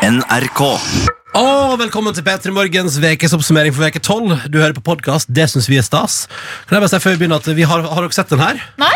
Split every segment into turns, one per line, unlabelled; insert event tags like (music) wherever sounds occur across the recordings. NRK.
Og velkommen til P3 Morgens vekes oppsummering for veke 12. Du hører på podkast, det syns vi er stas. Kan jeg bare si før vi begynner at vi har, har dere sett den her?
Nei?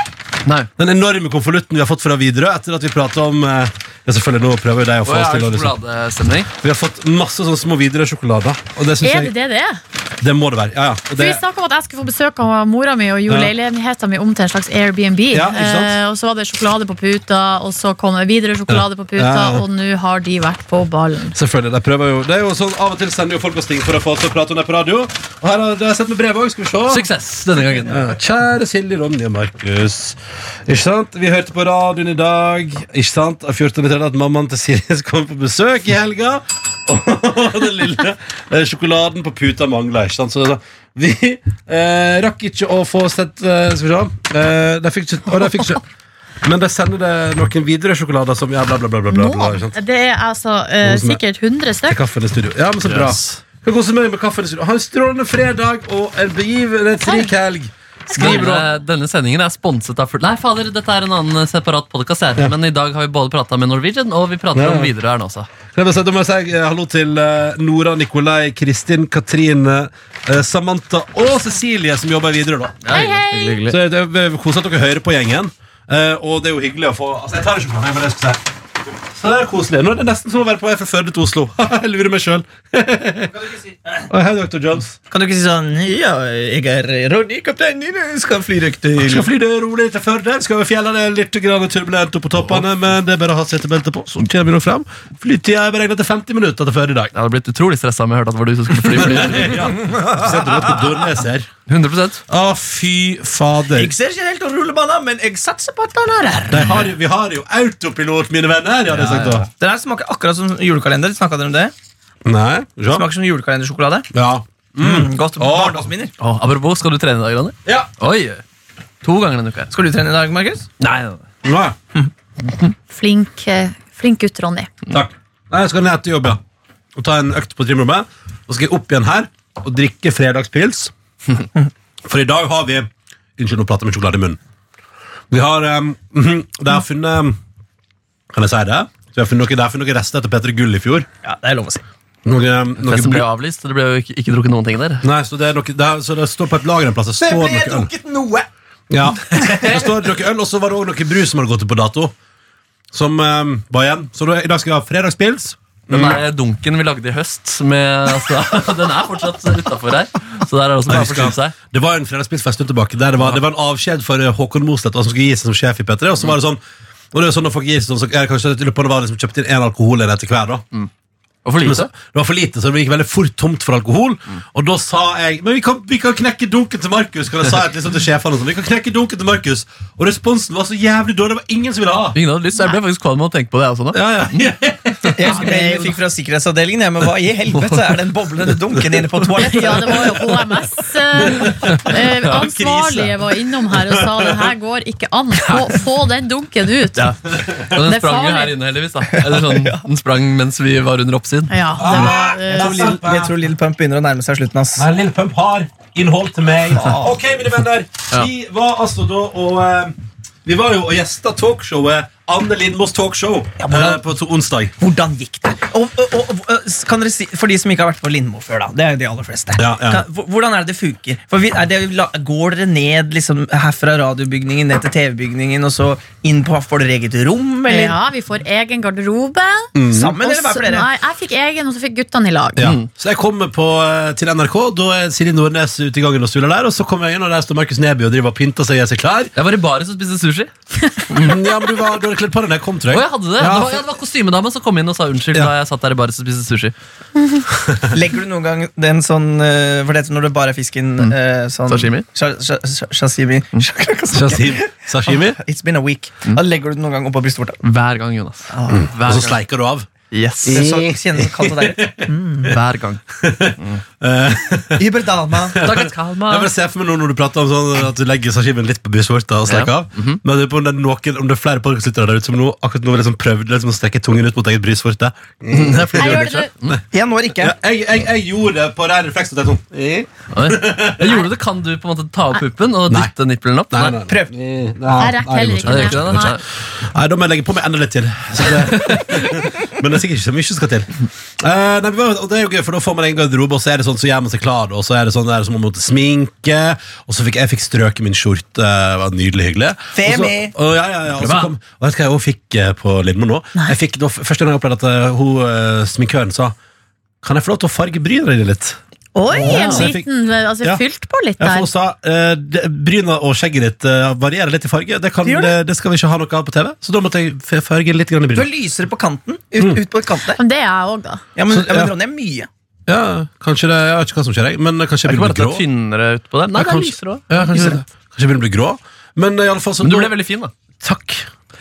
Nei.
Den enorme konvolutten vi har fått fra Widerøe etter at vi pratet om eh, Ja, selvfølgelig, nå prøver jo de å få oss til å liksom.
sjokoladestemning?
Vi har fått masse sånne små Widerøe-sjokolader. Og det syns
Er det
jeg
det det er?
Det må det være. Ja, ja. Og
For
det,
Vi snakka om at jeg skulle få besøk av mora mi og gjorde
Ja.
leiligheten min om til en slags Airbnb.
Ja, ikke sant?
Eh, og så var det sjokolade på puta, og så kom det videre sjokolade på puta,
Ja.
og nå har de vært på ballen.
selvfølgelig. De prøver jo Det er jo sånn Av og til sender jo folk oss ting for å få oss til å prate om det på radio. Og her har det har jeg sett med brev òg. Skal vi se.
Suksess denne gangen.
Ja, Kjære Silje, Ronny og Markus. Ikke sant? Vi hørte på radioen i dag Ikke sant? av 14.30 at mammaen til Siri kom på besøk i helga. (laughs) Og den lille eh, sjokoladen på puta mangla. Ikke sant? Så da, vi eh, rakk ikke å få sett eh, Skal vi se. Eh, de fikk ikke, og de fikk ikke Men de sender det noen videre sjokolader som ja, bla, bla, bla. bla, bla, bla ikke sant?
Det er altså eh,
Noen som er-
sikkert 100
Til
stykk.
kaffen i studio. Ja, men så bra.
Yes.
Skal kose meg med kaffen i studio. Ha en strålende fredag og en begivende trik helg. Skriv
Denne,
råd.
denne sendingen er sponset av full... Nei, fader, dette er en annen separat podkast. Men i dag har vi både prata med Norwegian, og vi prater
Ja, ja.
om Widerøe her nå også.
Kan jeg bare si, da må jeg si eh, hallo til eh, Nora, Nikolai, Kristin, Katrine, eh, Samantha og Cecilie, som jobber videre. da
Hei, hei!
Hyggelig, hyggelig.
Så det er det er koselig at dere hører på gjengen. Eh, og det er jo hyggelig å få Altså, jeg tar ikke på meg, men jeg skulle si Så det er koselig. Nå er det nesten som å være på vei fra Førde til Oslo. (laughs) jeg lurer meg sjøl. (laughs) Hei, Dr. Jones.
Kan du ikke si sånn Ja, jeg er Ronny, kaptein din, jeg skal fly dere
Jeg
til
skal fly det rolig til Førde. Skal over fjellene det er litt grann turbulent opp på toppene, men det er bare å ha setebelte på, så kommer vi nok fram. Flytida er beregna til 50 minutter til
(laughs)
Førde i dag.
Jeg hadde blitt utrolig stressa om jeg hørte at det var du som skulle fly.
(laughs)
fly.
Ja. Spesielt når du er på Dornes her.
100
Å, fy fader.
Jeg ser ikke helt rullebanen, men jeg satser på at den er her.
De har, jo- vi har jo autopilot, mine venner. Ja, det sagt da.
Den her smaker akkurat som julekalender. Snakka dere om det?
Nei, ja.
Smaker som julekalendersjokolade.
ja.
Mm, godt
Åh.
barndomsminner.
Å, apropos, skal du trene i dag, Ronny?
Ja.
Oi! To ganger denne uka.
Skal du trene i dag, Markus?
Nei, nei, nei.
Nei.
Flink, eh, flink gutt, Ronny.
Takk. Nei, jeg skal ned til jobb, ja. Og ta en økt på trimrommet. Og så skal jeg opp igjen her og drikke (laughs) fredagspils. For i dag har vi Unnskyld, nå prater jeg med sjokolade i munnen. Vi har (clears throat) um, De har funnet Kan jeg si det? Så vi har funnet noe, de har funnet noen rester etter Peter Gull i fjor.
Ja, det er lov å si.
Noe, noe
Festen ble jo avlyst, og det ble jo ikke, ikke drukket noen ting der.
Nei, så det, er noe, det, er, så det står på et lager en plass. Det står noe øl.
noe.
(laughs) Ja. Det står noe øl, og så var det òg noe brus som hadde gått ut på dato. Som eh, var igjen. Så da, i dag skal vi ha fredagspils.
Den der dunken vi lagde i høst, med, altså, (laughs) den er fortsatt utafor her. Så der er det også bare å forsyne seg.
Det var en fredagspils for en stund tilbake. Der det, var, det var en avskjed for eh, Håkon Mostedt, han som skulle gi seg som sjef i P3. Og så var det sånn og det er jo sånn når folk gir seg sånn, så er det kanskje i løpet av det var liksom kjøpt inn én alkohol etter hver. da
Og for
Men så,
lite.
Det var for lite, så det gikk veldig fort tomt for alkohol. Og da sa jeg Men vi kan, vi kan knekke dunken til Markus. Kan jeg sa jeg liksom til sjefene og sånn, vi kan knekke dunken til Markus Og responsen var så jævlig dårlig. Det var ingen som ville ha.
Ingen hadde lyst, så jeg ble faktisk kvalm av å tenke på det. jeg Også, nå.
(laughs) Ja, ja.
Jeg husker det jeg fikk fra sikkerhetsavdelingen. jeg, Men hva i helvete er den boblende dunken inne på
(laughs)
toalettet?
Ja, det var jo HMS. eh, eh, ansvarlige var innom her og sa det her går ikke an. Få, få den dunken ut. Ja,
Og
Det
den
er
sprang jo
farlig.
her inne, heldigvis. da Eller sånn, Den sprang mens vi var under oppsiden.
Ah.
det var,
Jeg
eh,
tror, Lil, jeg tror Lil Pump begynner å nærme seg slutten. ass
Nei, Lille Pump har innhold til meg. Ok, mine venner. Vi var altså da og eh, Vi var jo og gjesta talkshowet Anne Lindmos talkshow eh, på to- onsdag.
Hvordan gikk det? Og, og, og, og, kan dere si, for de som ikke har vært på Lindmo før, da. Det er jo de aller fleste.
Ja, ja.
Kan, hvor- hvordan er det det funker? For vi, er det, la- går dere ned liksom, her fra radiobygningen ned til TV-bygningen, og så inn på Får dere eget rom, eller?
ja, vi får egen garderobe.
Sammen, eller
Og
hver
så-
for dere?
Nei, jeg fikk egen, og så fikk guttene i lag.
Så jeg kommer på, eh, til NRK. Da er Silje Nordnes ute i gangen og stuler der. Og så kommer jeg inn, og der står Markus Neby og driver og pynter seg og gjør seg klar.
Jeg var i baris og spiste sushi.
Mm, Ja, men du, var, du hadde kledd på deg da jeg kom, tror
Og
jeg.
jeg hadde det.
Ja,
det, var, ja, det var kostymedama som kom inn og sa unnskyld
Ja.
da jeg satt der i baris og spiste sushi.
Legger du noen gang den sånn eh, For det heter når det bare er fisken eh, sånn,
Sashimi?
Sha- sha- (laughs) sha- Sashimi.
Sashimi. Sashimi.
It's been a week. Da legger du den noen gang oppå brystvorta. Ah,
Hver gang, Jonas.
Og
Hver
så
gang.
sleiker du av.
Yes.
Det er så- kjennes så kaldt og deilig.
Hver gang.
Iberdalma.
Takk, Kalma.
Jeg bare ser for meg nå når du prater om sånn at du legger sashimien litt på brystvorta og sleiker
Ja. Mhm.
av. Men jeg lurer på om det er noen, om det er flere podkastlyttere der ute som nå akkurat nå liksom prøvde liksom å strekke tungen ut mot eget brystvorte.
Jeg gjør det nå.
Jeg når ikke.
Ja, jeg, jeg, jeg gjorde det på ren refleks. at jeg sånn, eh,
Oi. Jeg gjorde det. Kan du på en måte ta opp puppen og
Nei.
dytte nippelen opp?
Nei, nei, nei.
Prøv.
Jeg rekker heller
Nei, det gjør
ikke
ikke det,
det.
da.
Nei.
Nei, da må jeg legge på meg enda litt til. Så det, (laughs) men det er sikkert ikke så mye som skal til. Eh, nei, men- og det er jo gøy, for da får man en garderobe, og så er det sånn, så gjør man seg klar, og så er det sånn der som om man måtte sminke, og så fikk jeg fikk strøket min skjorte, det var nydelig hyggelig.
Femi!
Og så, og, ja, ja, ja, og så kom, og vet du hva jeg også fikk eh, på Lindmo nå? Jeg fikk, det var f- første gang jeg opplevde at eh, hun, eh, sminkøren sa, kan jeg få lov til å farge brynene dine litt?
Oi, en
Så jeg fikk-
liten altså,
Ja.
Fylt på litt
Ja, for
der.
hun sa eh, det- bryna og skjegget ditt eh, varierer litt i farge. Det, kan, eh,
Det gjør
det.
det.
skal vi ikke ha noe av på TV. Så da måtte jeg f- farge litt grann i
Du
bryna.
er lysere på kanten. Ut, ut på kanten der.
Men det er jeg òg, da.
Ja, men,
Så-
ja,
ja.
men Ronny er mye.
Ja, kanskje det, Jeg vet ikke hva som skjer, jeg. Men eh, kanskje
Er
jeg
ikke
begynner
bare
å
at det
bli
er
grå.
tynnere utpå der?
Ja,
Nei, det er
kanskje-
lysere også.
Ja, kanskje, kanskje jeg begynner å bli grå. Men eh, i alle fall så
Men du ble veldig fin, da.
Takk.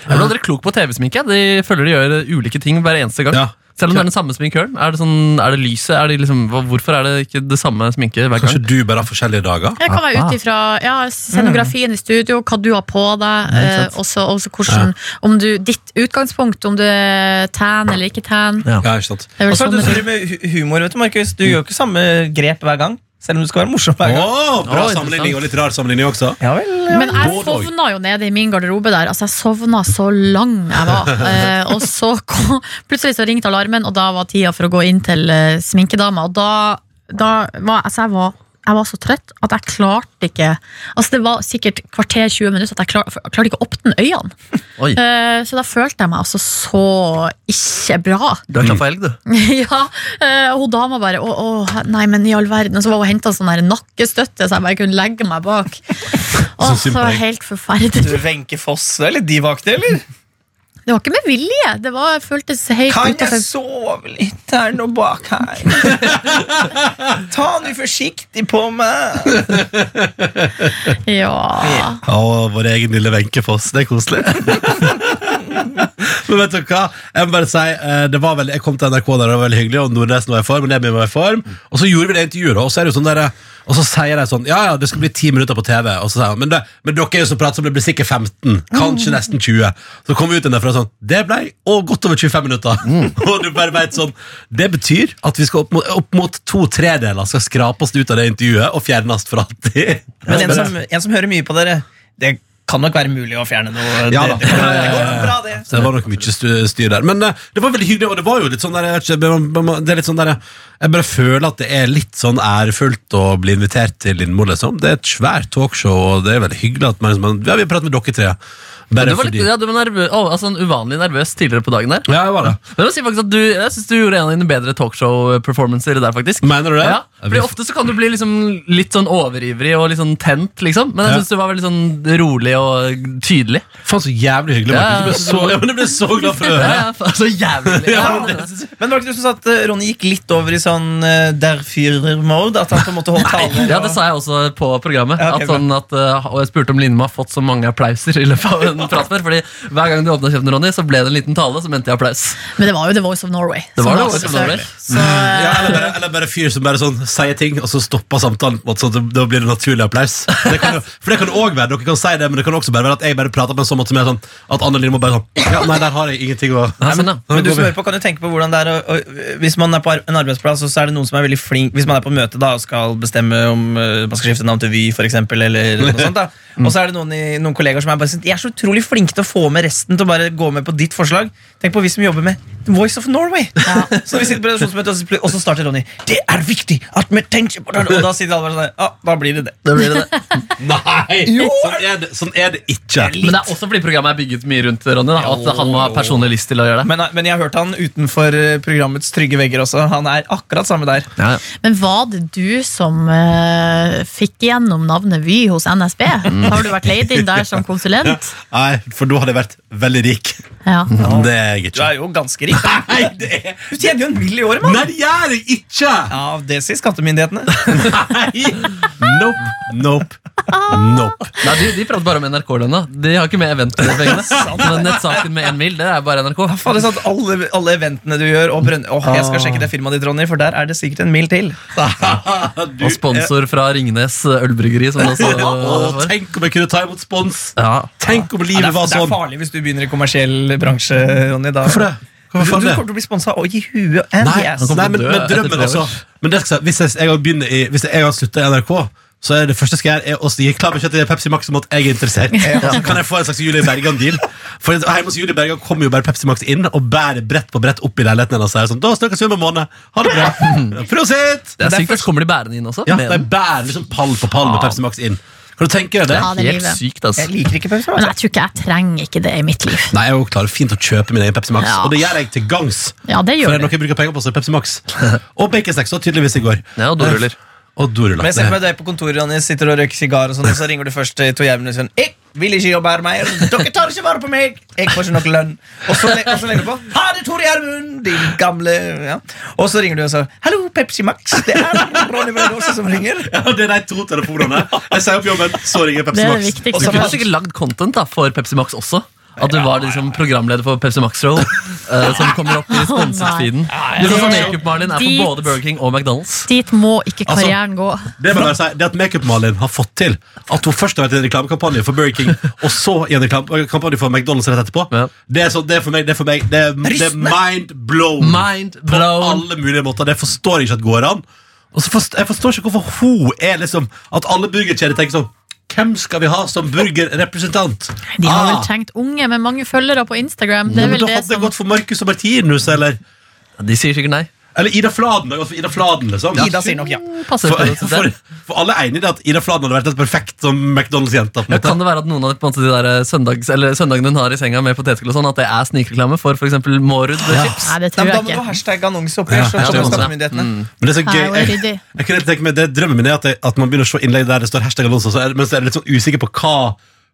Jeg ble aldri klok på TV-sminke. jeg. De føler de gjør ulike ting hver eneste gang.
Ja.
Selv om det er den samme sminkøren. Er det, sånn, er det lyset? Er det liksom, hva- hvorfor er det ikke det samme sminke hver
Kanskje
gang?
du bare har forskjellige dager?
Det kan være ut ifra ja, scenografien i studio, hva du har på deg, eh,
sant.
også, også hvordan, om du, ditt utgangspunkt, om du er tan eller ikke tan.
Ja.
Ja, ikke sant?
Det er
Og
vel
så er
sånn
det
det
så det med hu- humor, vet du, Markus. Du gjør ikke samme grep hver gang. Selv om du skal være morsom hver gang.
Å, bra
Å,
sammenligning, og litt rar sammenligning også.
Ja vel, ja.
Men jeg
Både og.
sovna jo nede i min garderobe der. Altså, jeg sovna så lang jeg var. Eh, og så kom, plutselig så ringte alarmen, og da var tida for å gå inn til eh, sminkedama. Og da, da var altså, jeg var jeg var så trøtt at jeg klarte ikke Altså Det var sikkert kvarter 20 minutter at jeg klar, jeg klarte ikke å åpne øynene.
Oi.
Eh, så da følte jeg meg altså så ikke bra.
Du er klar for helg, du.
(laughs) ja, eh, og hun dama bare å, å, Nei, men i all verden Og så var hun hentet en sånn her nakkestøtte Så jeg bare kunne legge meg
(laughs)
bak Åh,
synd
det
på
var
deg.
helt forferdelig
Du, Wenche Foss, du er litt divaktig, eller?
Det var ikke med vilje Det var, føltes helt
Kan jeg
utenfor
sove litt her nå bak her? Ta nå forsiktig på meg!
Ja
Å, vår egen lille Wenche Foss. Det er koselig. (laughs) men vet du hva? Jeg må bare si, eh, det var veldig, jeg kom til NRK der, det var veldig hyggelig, og Nordnesen var i form, og Lemmy var i form. Og så gjorde vi det intervjuet, og så er det jo sånn der, og så sier de sånn, ja, ja, det skal bli 10 minutter på TV. Og så sier han, men, det, men dere er jo så prat, så det blir sikkert 15, kanskje nesten 20. Så kom vi ut den derfra sånn, det ble å, godt over 25 minutter. (laughs) og du bare vet sånn, det betyr at vi skal opp mot, opp mot to tredeler, skal skrape oss ut av det intervjuet, og fjernes for alltid.
Men en som, en som hører mye på dere, det kan nok være mulig å fjerne noe.
(laughs) Ja da.
det, det, går nok- det går nok bra, det.
Så det var nok mye stu- styr der. Men eh, det var veldig hyggelig, og det var jo litt sånn der, jeg, vet ikke, man- man- man- det er litt sånn der eh, Jeg bare føler at det er litt sånn ærefullt å bli invitert til Lindmo, liksom. Det er et svært talkshow, og det er veldig hyggelig at man, man Ja, vi har pratet med dere tre. Bare
Du var litt,
fordi
ja, du var nervø- å, altså, en uvanlig nervøs tidligere på dagen der.
Ja, jeg var det.
Men jeg må si faktisk at du, jeg synes du gjorde en av dine bedre talkshow-performancer der, faktisk.
Mener du det?
Ja, fordi Ofte så kan du bli liksom litt sånn overivrig og litt sånn tent, liksom. Men jeg
Ja.
syns du var veldig sånn rolig og tydelig.
Faen, så jævlig hyggelig.
Ja, ja.
Markus. Jeg ble så, ja, men jeg ble så glad for å høre.
Ja, ja,
(laughs)
så jævlig. Ja.
Men var det ikke du som sa at eh, Ronny gikk litt over i sånn eh, der Führer-mode? At han på en måte holdt tale?
Ja, det sa jeg også på programmet.
Ja, ok,
at sånn at, uh, og jeg spurte om Lindmo har fått så mange applauser i løpet av en prat før. Fordi hver gang du åpna kjeften, Ronny, så ble det en liten tale som endte i applaus.
Men det var jo The Voice of Norway
Det var
som
det også, selvfølgelig.
Så, eh,
Ja, eller, bare, eller bare fyr som bare sånn sier ting, og så stopper samtalen. på en måte, Sånn, at det- da blir det naturlig applaus. Det kan, jo- for det kan jo også være, Dere kan si det, men det kan også bare være at jeg bare prater på en sånn måte som er sånn at Anne Lindmo bare sånn ja, Nei, der har jeg ingenting å
Ja, sånn, ja.
Men du som hører på, kan jo tenke på hvordan det er å, å- Hvis man er på ar- en arbeidsplass, og så er det noen som er veldig flink Hvis man er på møte da og skal bestemme om eh, man skal skifte navn til Vy, for eksempel, eller (laughs) noe sånt, da. Og så er det noen, i, noen kollegaer som er bare sånn Jeg er så utrolig flinke til å få med resten til å bare gå med på ditt forslag. Tenk på vi som jobber med The Voice of Norway. (laughs) Så vi sitter på redaksjonsmøte, og så pl- og så starter Ronny. Det er viktig at vi tenker på det! Og da sitter alle bare sånn der, Ja, da blir det det.
Det blir det.
Nei! Sånn, er det, sånn er det ikke.
Men det er også fordi programmet er bygget mye rundt Ronny. Da, at han må ha personlig lyst til å gjøre det.
Men, men jeg har hørt han utenfor eh, programmets trygge vegger også. Han er akkurat samme der.
Ja, ja.
Men var det du som eh, fikk gjennom navnet Vy hos NSB?
Mm.
Har du vært leid inn der som konsulent?
(laughs) Nei, for da hadde jeg vært veldig rik.
Ja,
Men det er jeg
Du
ikke.
er jo ganske (laughs) rik.
Nei, det er
Du tjener jo en mill i året, mann!
Nei, det gjør jeg ikke!
Ja, det sier skattemyndighetene.
Nei! Nope, nope, nope.
Nei, de, de prater bare om NRK-lønna. De har ikke med
(laughs)
eventpengene. Men nettsaken med en mil, det er bare NRK.
Faen, det er sant, alle, alle eventene du gjør og Brønn... Åh, jeg
Ah.
skal sjekke det firmaet ditt, Ronny, for der er det sikkert en mil til.
Du,
Og sponsor fra Ringnes ølbryggeri, som det også
Å,
var.
tenk om jeg kunne ta imot spons!
Ja.
Tenk om
Ja, det,
livet
er,
var
det er
sånn!
farlig hvis du begynner i kommersiell bransje, Ronny. Da.
Hvorfor det? Hva var
Du, du
farlig?
kommer til å bli sponsa og gi huet and
Nei,
yes.
kommer
nei
til å
men, men
dø
sånn,
etter
drømmen
tre år.
altså men det skal, jeg si, Hvis jeg, jeg, har begynt i, hvis jeg har slutta i NRK så er det første jeg skal gjøre, er å gi klar beskjed til Pepsi Max om at jeg er interessert. Så kan jeg få en slags Julie Bergan-deal? For hjemme hos Julie Bergan kommer jo bare Pepsi Max inn og bærer brett på brett opp i leiligheten hennes. og sier Sånn, da snakkes vi om en måned. Ha det
(laughs)
bra. Prosit!
Det er sykt, ass. Kommer de bærende inn også?
Ja,
Med
de
den.
bærer liksom pall på pall med
Ja.
Pepsi Max inn. Kan du tenke deg det?
Ja, det er
Helt
livet.
sykt, altså. ass.
Jeg liker ikke altså. Pepsi
Men
Max.
jeg tror ikke jeg trenger ikke det i mitt liv.
Nei, jeg klarer fint å kjøpe min egen Pepsi Max,
Ja.
og det gjør jeg til gangs.
Ja, det
For det
gjør
er
du.
noe jeg bruker penger på, så er det Pepsi
(laughs)
Max. Og baconsnacks, og tydeligvis i går. Eh,
Ja, og doruller.
Og doruller.
Men jeg ser for meg deg på kontoret, Ronny, sitter og røyker sigar, og sånn, og så ringer du først eh, to jævlene og sier «Jeg vil ikke jobbe her mer. Dere tar ikke vare på meg. Jeg får ikke nok lønn. Og så, le- og så legger du på. Ha det, Tore Gjermund, din gamle ja. Og så ringer du og sier Hallo, Pepsi Max. Det er Ronny Brede Aase som ringer.
(laughs) Ja, det er de to telefonene. Jeg sier opp jobben, så ringer
Det
Pepsi
er det
Max.
Og så har du
viktigste.
sikkert lagd content da, for Pepsi Max også. At du var liksom programleder for Pepsi Max (laughs) Roll. eh, som kommer opp i sponset-feeden. Du kan få Makeup-Marlin er
Dit-
for både Burger King og McDonald's.
Dit må ikke
Altså,
karrieren gå.
Det, må jeg bare si, det at makeup-Malin har fått til at hun først har vært i en reklamekampanje for Burger King,
(laughs)
og så i en reklamekampanje for McDonald's rett etterpå,
Ja.
det, er så, det er for meg Det er, for meg, det er, det er mind blown.
Mind
På
blown.
alle mulige måter. Det forstår jeg ikke at går an. Og så forst, jeg forstår ikke hvorfor hun er liksom At alle burgerkjeder tenker sånn Hvem skal vi ha som burgerrepresentant?
De har
Ah,
vel trengt unge med mange følgere på Instagram. Det
ja,
er
men
vel
da
det
hadde det
som
gått for Marcus og Martinus, eller
De sier sikkert nei.
Eller Ida Fladen. Det hadde gått for Ida Fladen liksom
Ida sier nok ja.
Passer
For,
på det, synes
for,
jeg.
for alle er enig i det at Ida Fladen hadde vært helt perfekt som McDonald's-jenta. på en
Ja,
måte.
kan det være at noen av de, på en måte, de der eh, søndags, eller søndagene hun har i senga med potetgull, og sånn, at det er snikreklame for f.eks. Mårud chips?
Nei, det
Nei,
tror
men da
jeg
må du ha
ikke.
hashtag annonse oppi.
Ja,
så
hashtag
kommer
annonse. Mm.
skattemyndighetene.
Men det er så
Nei,
gøy
hun er
jeg,
ryddig.
jeg kunne helt tenke meg, det Drømmen min er at, jeg, at man begynner å se innlegg der det står hashtag annonser, så er- men så er jeg litt sånn usikker på hva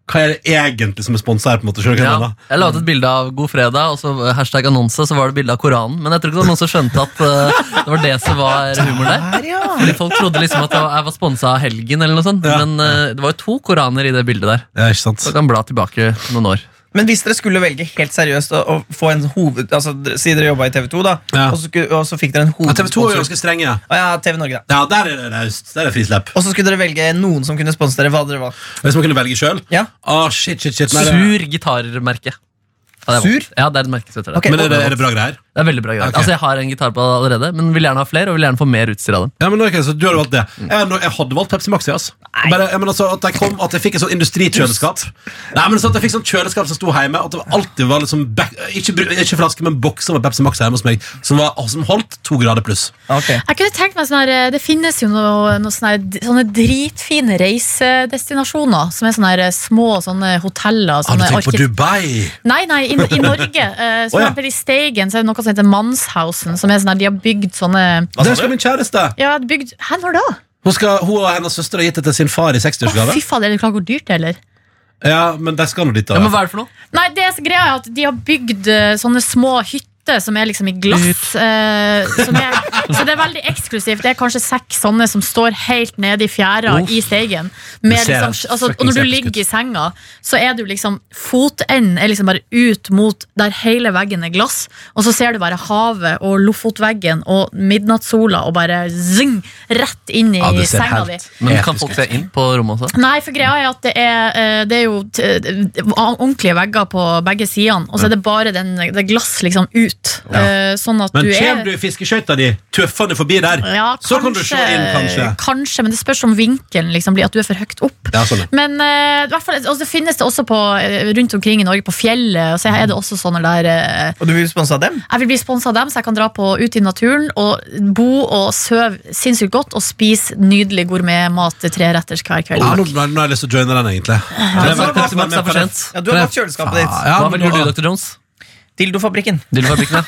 Hva er det egentlig som er sponsa her. på en måte, skjønner du hva jeg
Ja,
mener?
jeg la ut et bilde av God fredag og så eh, hashtag annonse, så var det bilde av Koranen. Men jeg tror ikke det var noen som skjønte at eh, det var det som var humoren der.
Der, ja.
Fordi Folk trodde liksom at jeg var sponsa av helgen, eller noe sånt.
Ja.
men eh, det var jo to koraner i det bildet der.
Ja, ikke sant?
Så kan bla tilbake noen år.
Men hvis dere skulle velge helt seriøst å, å få en hoved... Altså, d- Si dere jobba i TV2, da,
Ja.
og, så, skulle- og så fikk dere en
Ja, TV 2 er jo
hovedsponsor.
ganske strenge. Ja,
Å ja, TV Norge, da.
Ja, der er det raust. Der er det frislepp.
Og så skulle dere velge noen som kunne sponse dere. Hva hadde dere valgt?
Hvis man kunne velge sjøl
Ja.
shit, shit, shit. Nei, det-
Sur gitarmerke. Ja, det er
Sur?
valgt. Ja, det er et merke som heter det.
Ok.
Men er det, er det bra greier?
Det er veldig bra greier.
Ok.
Altså, jeg har en gitar på allerede, men vil gjerne ha flere, og vil gjerne få mer utstyr av dem.
Ja, men ok, så Du hadde valgt det. Jeg, hadde- jeg hadde valgt Pepsi Max. ja, Altså. Bare, jeg, men altså, at, jeg kom, at jeg fikk et sånt industrikjøleskap. Nei, men sånn at jeg fikk sånn kjøleskap som sto hjemme. At det alltid var liksom back, ikke, bru- ikke flaske, men bokser med Pepsi Max hjemme hos meg, som, var, som holdt to grader pluss.
Ok.
Jeg kunne tenkt meg sånn her, eh, Det finnes jo noe, noe sånne, her- sånne dritfine reisedestinasjoner. Som er sånne her, eh, små sånne hoteller.
Har du
Sånne
tenkt på
arki-
Dubai?
Nei, nei, i,
(laughs)
i Norge. eh, som
Å, ja.
eksempel I Steigen så er det noe som heter Mannshausen. Som er sånn her, de har bygd sånne
Der skal min kjæreste.
Ja, bygd Hæ, når da?
Hun, skal, hun og hennes søster har gitt det til sin far i
Å, fy
60-årsgave.
faen, er det klart hvor dyrt det er, eller?
Ja, men de skal nå dit. da
Ja, men hva er det for noe?
Nei, det som- greia er at de har bygd eh, sånne små hytter som er liksom i glass. eh, som er, (laughs) så det er veldig eksklusivt. Det er kanskje seks sånne som står helt nede i fjæra
Uff.
i Steigen. Med
Du ser
liksom,
det.
altså, og
Fuckings
når du
episk
ligger i senga, så er du liksom Fotenden er liksom bare ut mot der hele veggen er glass, og så ser du bare havet og Lofotveggen og midnattssola og bare zing, rett inn i
Ja, det ser
senga
helt
di.
Men
episk
kan folk
ut.
se inn på rommet også?
Nei, for greia er at det er, eh, det er jo t- eh, ordentlige vegger på begge sidene, og så er det bare den, det er glass liksom ut. Eh, Sånn at
Men
du
kommer du
er
i fiskeskøyta di tøffende forbi der,
ja,
så kan du se inn, kanskje.
Kanskje, men det spørs om vinkelen liksom, blir at du er for høyt opp.
Ja, sånn.
Men eh, i hvert fall, og så finnes det også på, eh, rundt omkring i Norge, på fjellet, og så er det også sånne der eh,
Og du vil sponse av dem?
Jeg vil bli sponsa av dem, så jeg kan dra på ut i naturen og bo og sove sinnssykt godt og spise nydelig gourmetmat treretters hver kveld.
Ja, nå, nå nå har jeg lyst til å joine den, egentlig.
Ja,
Det var-
Pepsi Max er for sent.
Ja, Du har valgt kjøleskapet ditt.
Ja,
Hva
men
velger
nå-
du, Dr. Jones?
Dildofabrikken.
Dildofabrikken, ja.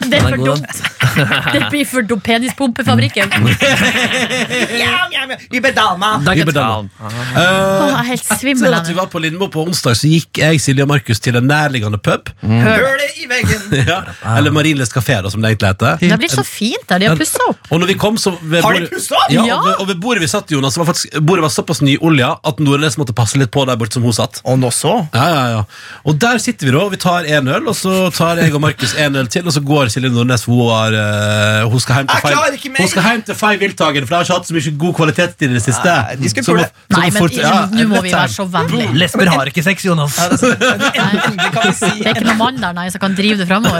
Det er
Den er
for
god,
dumt. (laughs) Det blir for dumt. Penisbompefabrikken.
(laughs) Ja, ja, ja. Liberdalma.
Det er ikke
Vi
et
bedømmer.
faen.
Åh,
Ah.
Eh,
Jeg er helt svimmel.
Etter at vi
Henning.
var på Lindmo på onsdag, så gikk jeg, Silje og Markus til en nærliggende pub.
Mm. Hølet i
(laughs)
veggen.
Ja. Eller Marienlyst kafé, da, som det egentlig heter.
Det har blitt så fint der. De har pussa opp.
Og når vi kom, så ved
Har de
bordet-
pusset opp?
Ja,
Ja.
Og, ved, og ved bordet vi satt, Jonas, så var faktisk, bordet var såpass nyolja at Nordnes måtte passe litt på der borte som hun satt.
Og nå så.
Ja, ja, ja. Og der sitter vi, da, og vi tar en øl, og så tar jeg og Markus en øl til, og så går Silje Nordnes. Hun, har, eh, hun skal hjem til
Jeg klarer ikke
Fein-
mer!
hun skal hjem til Fein Wiltagen, for de har ikke hatt så mye god kvalitet i det siste.
Nei, de skal
Så må-
kule.
så må
Nei, men
fort- ja,
nå må
rett
vi
her.
være så vennlige.
Lesber har ikke sex, Jonas.
Ja, det er sant. Men Endelig kan vi si
Det er ikke noen mann der nei, som kan drive det framover.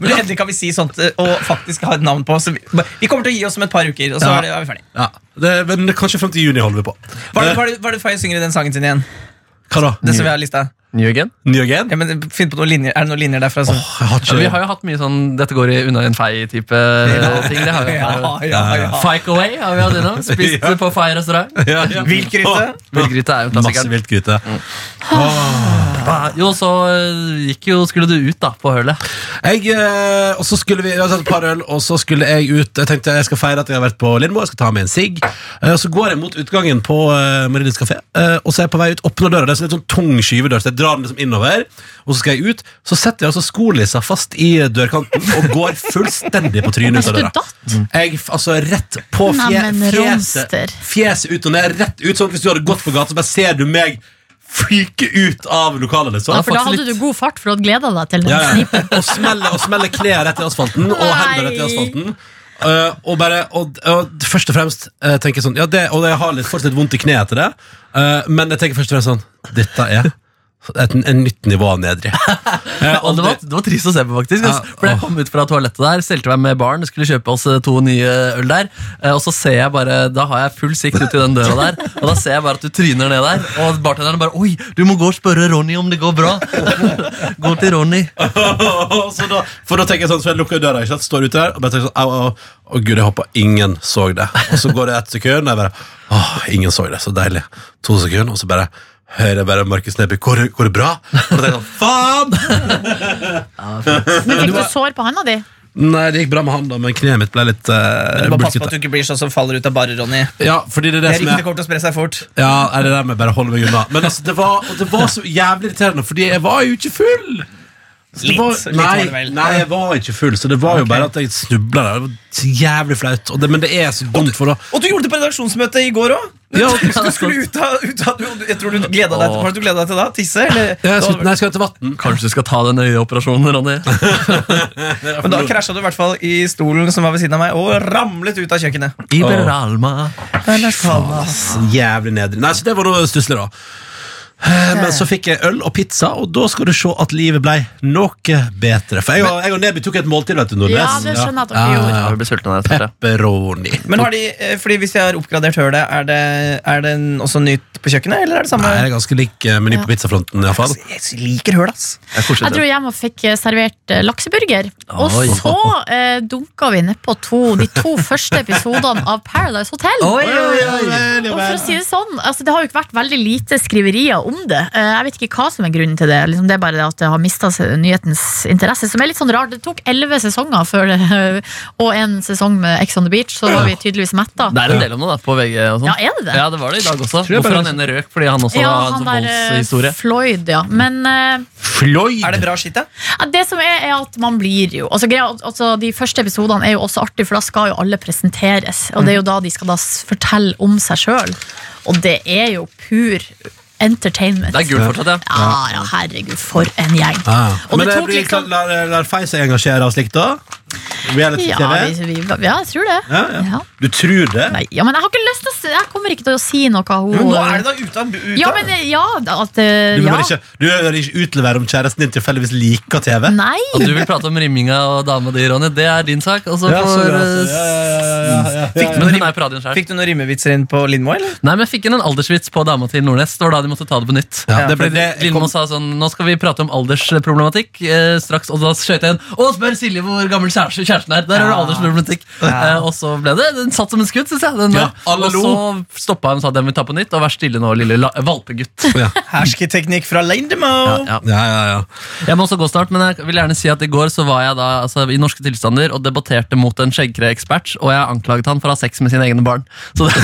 (laughs) Men endelig kan vi si sånt eh, og faktisk ha et navn på. Så vi, vi kommer til å gi oss om et par uker, og så
Ja.
er, det, er vi ferdig.
Ja, det, men det er kanskje frem til juni holder vi på.
Hva er det,
Eh,
hva er det, hva er det Faye synger i den sangen sin igjen?
Hva da?
Det som vi har i lista
New again?
New again?
ja, men Finn på noen linjer Er det noen linjer derfra? som-
Jeg har
Ja,
ikke
vi
det.
har jo hatt mye sånn 'dette går i unna en fei'-type ting. Det har vi eh.
Ja, ja, ja.
Fike away har vi hatt
(laughs)
innom. Spist
Ja.
på Fei restaurant.
Ja, ja.
Viltgryte.
Villgryte er jo
Åh, Masse
klassikeren.
viltgryte.
Ah, Jo, så eh, gikk jo, skulle du ut da, på hølet.
Jeg, eh, og så skulle vi, jeg hadde tatt et par øl, og så skulle jeg ut Jeg tenkte jeg skal feire at jeg har vært på Lindmo, jeg skal ta med en sigg. Eh, Og så går jeg mot utgangen på uh, Marienlyst kafé, eh, og så er jeg på vei ut, åpner døra. Det er sånn litt sånn tung skyvedør, så jeg drar den liksom innover, og så skal jeg ut. Så setter jeg altså skolissa fast i dørkanten og går fullstendig på trynet ut
Mens
av
du
døra.
datt.
Jeg, f- altså Rett på fje,
Mm. Nei, men
fjeset.
Romster.
Fjeset ut og ned. Rett ut sånn at Hvis du hadde gått på gata, så bare ser du meg fyke ut av lokalet. Liksom.
Ja, for da hadde du god fart, for du hadde gleda deg til den
Ja, ja.
snippen.
Og smeller og smeller kneet rett i asfalten og hendene rett i
Nei.
asfalten. Eh, og bare, og, og først og fremst eh, tenker jeg sånn ja, det, Og jeg har litt, fortsatt litt vondt i kneet etter det, eh, men jeg tenker først og fremst sånn Dette er et, en nytt nivå av
(laughs)
nedrig. Eh,
Og det, var, det var trist å se på, faktisk. ass.
Ja,
For Jeg
åh.
kom ut fra toalettet der, stelte meg med baren, skulle kjøpe oss eh, to nye øl der. eh, Og så ser jeg bare, da har jeg full sikt ut i den døra der, og da ser jeg bare at du tryner ned der. Og bartenderen bare 'oi, du må gå og spørre Ronny om det går bra'. (laughs) Gå til Ronny.
Og (laughs) så da, for da tenker jeg sånn, så jeg lukker døra, ikke sant? står ute der, og bare tenker sånn, au, au, au. Å, gud, jeg håper ingen så det. Og så går det ett sekund, og jeg bare, åh, ingen så det, så deilig. To sekunder, og så bare, hører jeg bare Markus Neby, går, det- går det bra? Og da tenker jeg sånn, faen!
Men fikk du sår på handa di?
Nei, det gikk bra med han da, men kneet mitt ble litt uh,
Du må passe på at du ikke blir sånn som faller ut av barer, Ronny.
Ja, fordi det er det
Det
som
ryktene
er...
kommer til å spre seg fort.
Ja, er det der med bare holde meg unna Men altså, det var, og det var så jævlig irriterende Fordi jeg var jo ikke full Så det
Litt,
var, nei,
litt var det vel.
nei, jeg var ikke full Så det var jo bare at jeg snublet der. Det var så jævlig flaut og det, Men det er så dumt for å
Og du gjorde det på redaksjonsmøtet i går òg!
Ja,
du skulle ut av, ut av du, Jeg tror du gleda deg til Hva er det du gleda deg til da? Tisse? Eller?
Ja, jeg skal,
Da-
nei, jeg skal til vann.
Kanskje du skal ta den øyeoperasjonen,
(laughs)
Ronny?
Men da krasja du i hvert fall i stolen som var ved siden av meg, og ramlet ut av kjøkkenet.
Iberalma.
Jævlig nedrig. Nei, så det var noe stusslig, da. Eh, Men så fikk jeg øl og pizza, og da skal du se at livet ble noe bedre. For jeg og, jeg og Neby tok et måltid, vet du, Nordnes.
Ja, det skjønner jeg at dere gjorde.
Ja, vi ble sultne der.
Ja. Pepperoni.
Men har de, eh, fordi Hvis jeg har oppgradert hølet, er det, er det en- også nytt på kjøkkenet? Eller er det samme?
Nei, det er ganske lik eh, meny på pizzafronten, iallfall.
Altså, jeg liker høl, ass.
Det er koselig,
Jeg dro hjem og fikk eh, servert eh, lakseburger. Og
Oi.
så eh, dunka vi nedpå to, de to første episodene av Paradise Hotel.
Oi, oi, oi.
Og for å si Det sånn, altså det har jo ikke vært veldig lite skriverier om det. Eh, Jeg vet ikke hva som er grunnen til det. Liksom det er bare det at det har mista nyhetens interesse. Som er litt sånn rart. Det tok elleve sesonger før det, (laughs) og en sesong med Ex on the Beach,
(clears throat)
så var vi tydeligvis metta.
Det er en del om det da, på VG og sånn.
Ja, er det det?
Ja, det var det i dag også.
jeg
Hvorfor
bare-
han ene røk? Fordi han også
Ja,
har
han
en sånn
der eh,
voldshistorie.
Floyd, ja. Men eh,
Floyd!
Er det bra skitt, da?
Ja, det som er, er at man blir jo altså, greia, altså, De første episodene er jo også artige, for da skal jo alle presenteres. Og det er jo da de skal da s- fortelle om seg sjøl. Og det er jo pur entertainment.
Det er gult fortsatt, ja.
Ja, ja, herregud, for en gjeng.
Ah.
Og
Men
det
det
tok
blir,
liksom
lar, lar Fei seg engasjere av slikt, da?
ja,
Reality-TV?
vi, vi, ja, jeg tror det.
Ja, ja.
Ja.
Du tror det?
Nei, ja, men jeg har ikke lyst til å si Jeg kommer ikke til å si noe. Hun,
Men nå er det da ute av ute.
Ja, men ja, at, eh,
Du vil
ja.
bare ikke, du vil bare ikke utlevere om kjæresten din tilfeldigvis liker TV?
Nei!
At du vil prate om rimminga og dama di, Ronny, det er din sak. Og så
Ja,
får
sånn, altså.
eh,
Ja, ja, ja, ja, ja, ja.
Fikk du, men hun er på radioen selv.
Fikk du noen rimevitser inn på Lindmo, eller?
Nei, men jeg fikk inn en aldersvits på dama til Nordnes. Det var da de måtte ta det på nytt.
Ja, det ble-
Fordi
det-
Lindmo sa sånn Nå skal vi prate om aldersproblematikk eh, straks. Og da skjøt jeg inn Og spør Silje hvor gammel kjæresten kjæresten er. Der er det aldersproblematikk. Eh, og så ble det Den satt som en skudd, syns jeg. Den,
Ja,
der.
alle
og så stoppa hun og sa den vil ta på nytt. Og vær stille nå, lille la valpegutt.
Ja.
Hersketeknikk fra Lindmo!
Ja.
Ja, ja, ja.
Jeg må også gå snart, men jeg vil gjerne si at i går så var jeg da altså, i norske tilstander og debatterte mot en skjeggkreekspert, og jeg anklaget han for å ha sex med sine egne barn. (laughs) Så det,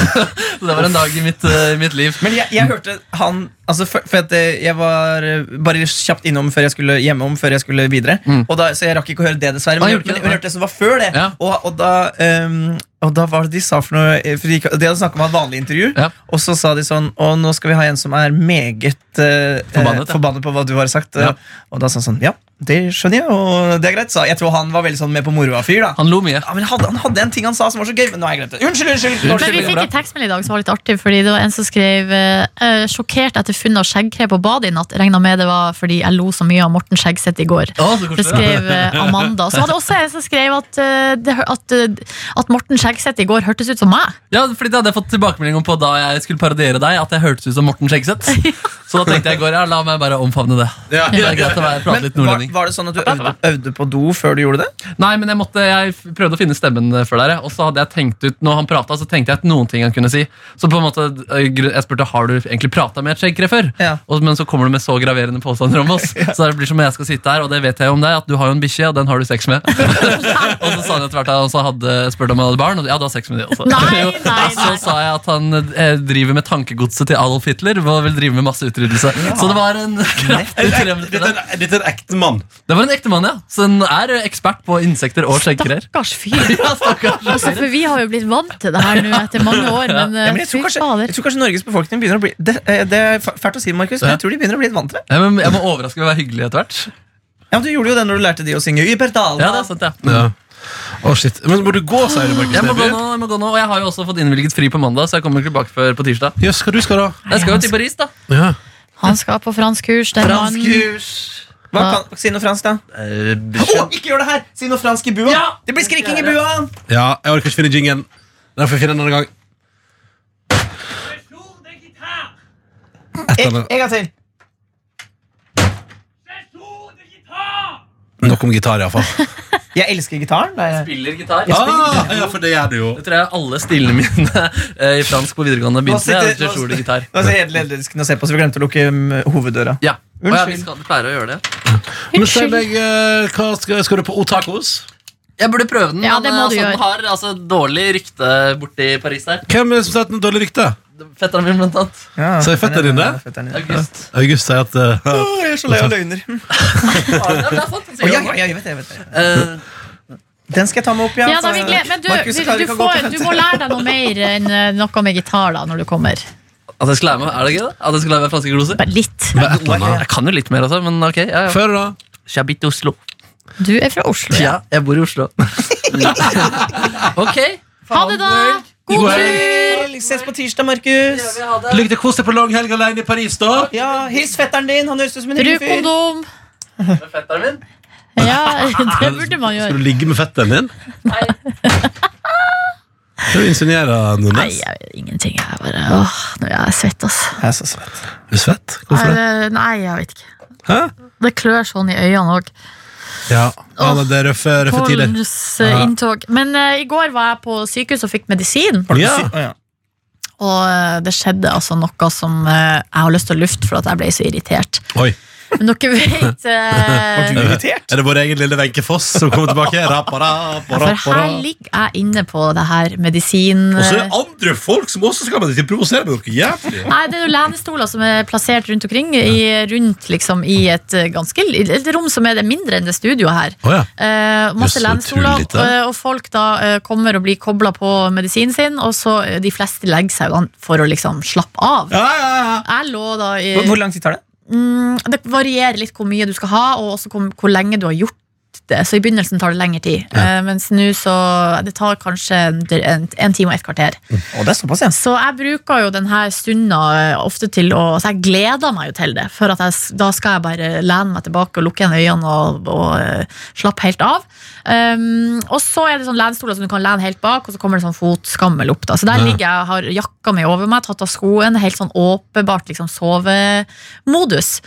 så det var en dag i mitt, eh, i mitt liv.
Men jeg, jeg hørte han altså for, for at eh, Jeg var eh, bare kjapt innom før jeg skulle hjemom før jeg
Mm.
skulle videre. Og da, så jeg rakk ikke å høre det, dessverre. Men,
Ah,
jeg,
gjorde
men
ikke
jeg
det?
hørte det som var før det.
Ja.
Og, og da ehm, Og da var det de sa for noe eh, for De gikk- de hadde snakket om et vanlig intervju,
Ja.
og så sa de sånn Og nå skal vi ha en som er meget eh,
Forbannet,
eh,
ja.
forbannet på hva du har sagt.
Ja.
Og da sa han sånn Ja, det skjønner jeg, og det er greit. Sa. Jeg tror han var veldig sånn med på moroa-fyr. da
Han lo mye.
ja, men hadde, Han hadde en ting han sa som var så gøy, men nå har jeg glemt det. Unnskyld, unnskyld!
Men vi
unnskyld.
fikk en tekstmelding i dag som var litt artig, fordi det var en som skrev eh, eh, 'sjokkert etter funn av skjeggkre på badet i natt'. Regna med det var fordi jeg lo så mye av Morten Skjeggseth i går.
Å, så
Det
koselig.
skrev eh, Amanda. Så var det også en som skrev at, eh, det, hø- at, eh, at Morten Skjeggseth i går hørtes ut som meg.
Ja, fordi Det hadde jeg fått tilbakemelding om på da jeg skulle parodiere deg. At jeg hørtes ut som Morten Skjeggseth. Så da tenkte jeg i går, ja, la meg bare omfavne det.
Ja.
Det er greit å være, prate
Men
litt
var,
nordlending
var det sånn at du øvde, øvde på do før du gjorde det?
Nei, men jeg, måtte, jeg f- prøvde å finne stemmen eh, før dere. Og så hadde jeg tenkt ut, når han pratet, så tenkte jeg at noen ting han kunne si. Så på en måte, eh, gru- jeg spurte har du egentlig prata med et skjeggkre før.
Ja.
Og, men så kommer du med så graverende påstander om oss. Så det blir som om jeg skal sitte her, og det vet jeg jo om deg, at du har jo en bikkje, og den har du sex med. (laughs) og så sa han etter hvert at han også hadde spurt om jeg hadde barn, og ja, du har sex med de også.
Nei,
Jo,
nei,
Så
Altså,
nei.
sa jeg at han eh, driver med tankegodset til Adolf Hitler, og vil drive med masse utryddelse. Så det var en kraftig tilrømmelse.
Dette
der.
er, dette er en ekte mann.
Det var en ekte mann, ja. Så han er eh, ekspert på insekter og skjeggkrer.
Stakkars fyr.
(laughs) Ja, stakkars.
Altså, for vi har jo blitt vant til det her nå etter mange år, men, eh,
Ja, men jeg, tror
fy
kanskje,
fader.
jeg tror kanskje Norges befolkning begynner å bli Det, eh, det er fæ- fælt å si, Markus, men jeg tror de begynner å bli litt vant til det.
Ja, men jeg må overraske med å være hyggelig etter hvert.
Ja, men Du gjorde jo det når du lærte de å synge Yperdal.
Ja, det er sant, ja.
Ja. Å, shit. Men må du gå, sier du, Markus
Jeg må gå
Neby?
nå, jeg må gå nå, og jeg har jo også fått innvilget fri på mandag, så jeg kommer ikke tilbake før på tirsdag.
Jøss, hva du skal da?
Jeg skal jo til Paris, da.
Ja.
Han skal på franskkurs. den mannen.
Franskkurs. Hva kan, si noe fransk, da. Å, ikke gjør det her! Si noe fransk i bua!
Eh, Ja,
det blir skriking i bua!
ja, jeg orker ikke finne jingen. Den får jeg finne en annen gang. Et eller
En
annet.
en gang til.
Nok om gitar, iallfall.
(laughs)
Jeg elsker gitaren. Det er,
Spiller gitar.
Ah, ja, for det gjør du jo.
Det tror jeg alle stillene mine eh, i fransk på videregående begynte med.
sitter-
Jeg tror det er gitar.
det var så helt ledelsen å se på, så vi glemte å lukke mm, hoveddøra.
Ja. Og ja, vi
Unnskyld.
skal klare å gjøre det.
Men si meg, eh, hva skal, skal du på Otacos?
Jeg burde prøve den,
Ja, det må
men eh,
du
altså,
gjøre.
den har altså, dårlig rykte borti Paris der.
Hvem er det som sier at den har dårlig rykte?
Fetteren min, blant annet.
Ja,
Så er fetteren din der?
fetteren din.
August.
August sier at eh,
Å, jeg er så lei av løgner.
(laughs) Sånn. Ja, men det er sant, han
Å,
sier jo
ja, ja,
det.
ja, jeg vet det, jeg vet det.
Eh,
Den skal jeg ta med opp, ja.
Ja, da, vi gleder. Men du,
Markus
du, du,
klarer ikke å gå
får,
til
du
venstre.
må lære deg noe mer enn eh, noe med gitar da, når du kommer.
At jeg skal lære meg, Er det gøy, da? At jeg skal lære meg franske gloser?
Bare litt.
Bare et eller annet.
Jeg kan jo litt mer, altså, men ok. Ja, ja.
Før da?
Shabit Oslo.
Du er fra Oslo.
Ja, jeg bor i (laughs) Oslo. ok.
Ha det, da! God tur!
Vi ses på tirsdag, Markus.
Lykke til. Kos deg på lang helg alene i Paris, da.
Ja, Hils fetteren din. Han høres ut som en hyggelig
Bruk
fyr.
kondom.
Med fetteren min?
Ja, det burde man
Skal
gjøre.
du ligge med fetteren din? Skal du insinuere
Nei,
Nordnes?
jeg vet ingenting. Jeg bare, åh, nå er jeg svett, altså.
Jeg er så svett.
Er du svett?
Nei,
Hvorfor det?
det- Nei, jeg vet ikke.
Hæ?
Det klør sånn i øynene òg.
Ja, ja men det er røffe, røffe tider.
Pollens eh,
Ja.
inntog. Men eh, i går var jeg på sykehus og fikk medisin,
Har du
Ja.
sy- Å, ja.
og eh, det skjedde altså noe som eh, jeg har lyst til å lufte for at jeg ble så irritert.
Oi,
Men dere vet eh,
Du er irritert?
Er det vår egen lille Wenche Foss som kommer tilbake? Rapa, rapa,
For
rapa,
her
rapa.
ligger jeg inne på det her medisin...
Og så er det andre folk som også skal med deg til å provosere med noe jævlig.
Nei, det er jo lenestoler som er plassert rundt omkring, i, rundt liksom i et eh, ganske li- et rom som er det mindre enn det studioet her.
Å ja.
Eh,
Jøss,
masse
så
lenestoler,
utrolig, da.
eh, og folk da eh, kommer og blir kobla på medisinen sin, og så eh, de fleste legger seg jo an for å liksom slappe av.
Ja, ja, ja.
Jeg lå da i
Hvor, hvor lang tid tar det?
mm, Det varierer litt hvor mye du skal ha, og også kom, hvor lenge du har gjort det. Så i begynnelsen tar det lengre tid, eh, mens nå så Det tar kanskje en, en, en time og et kvarter.
Å, det er såpass, ja.
Så jeg bruker jo denne stunda eh, ofte til å Så jeg gleder meg jo til det. For at jeg, s- da skal jeg bare lene meg tilbake og lukke igjen øynene og, og eh, slappe helt av. Um, og så er det sånn lenstoler som du kan lene helt bak, og så kommer det sånn fotskammel opp. da Så der
Ja.
ligger jeg, har jakka mi over meg, tatt av skoen, helt sånn åpenbart liksom sovemodus.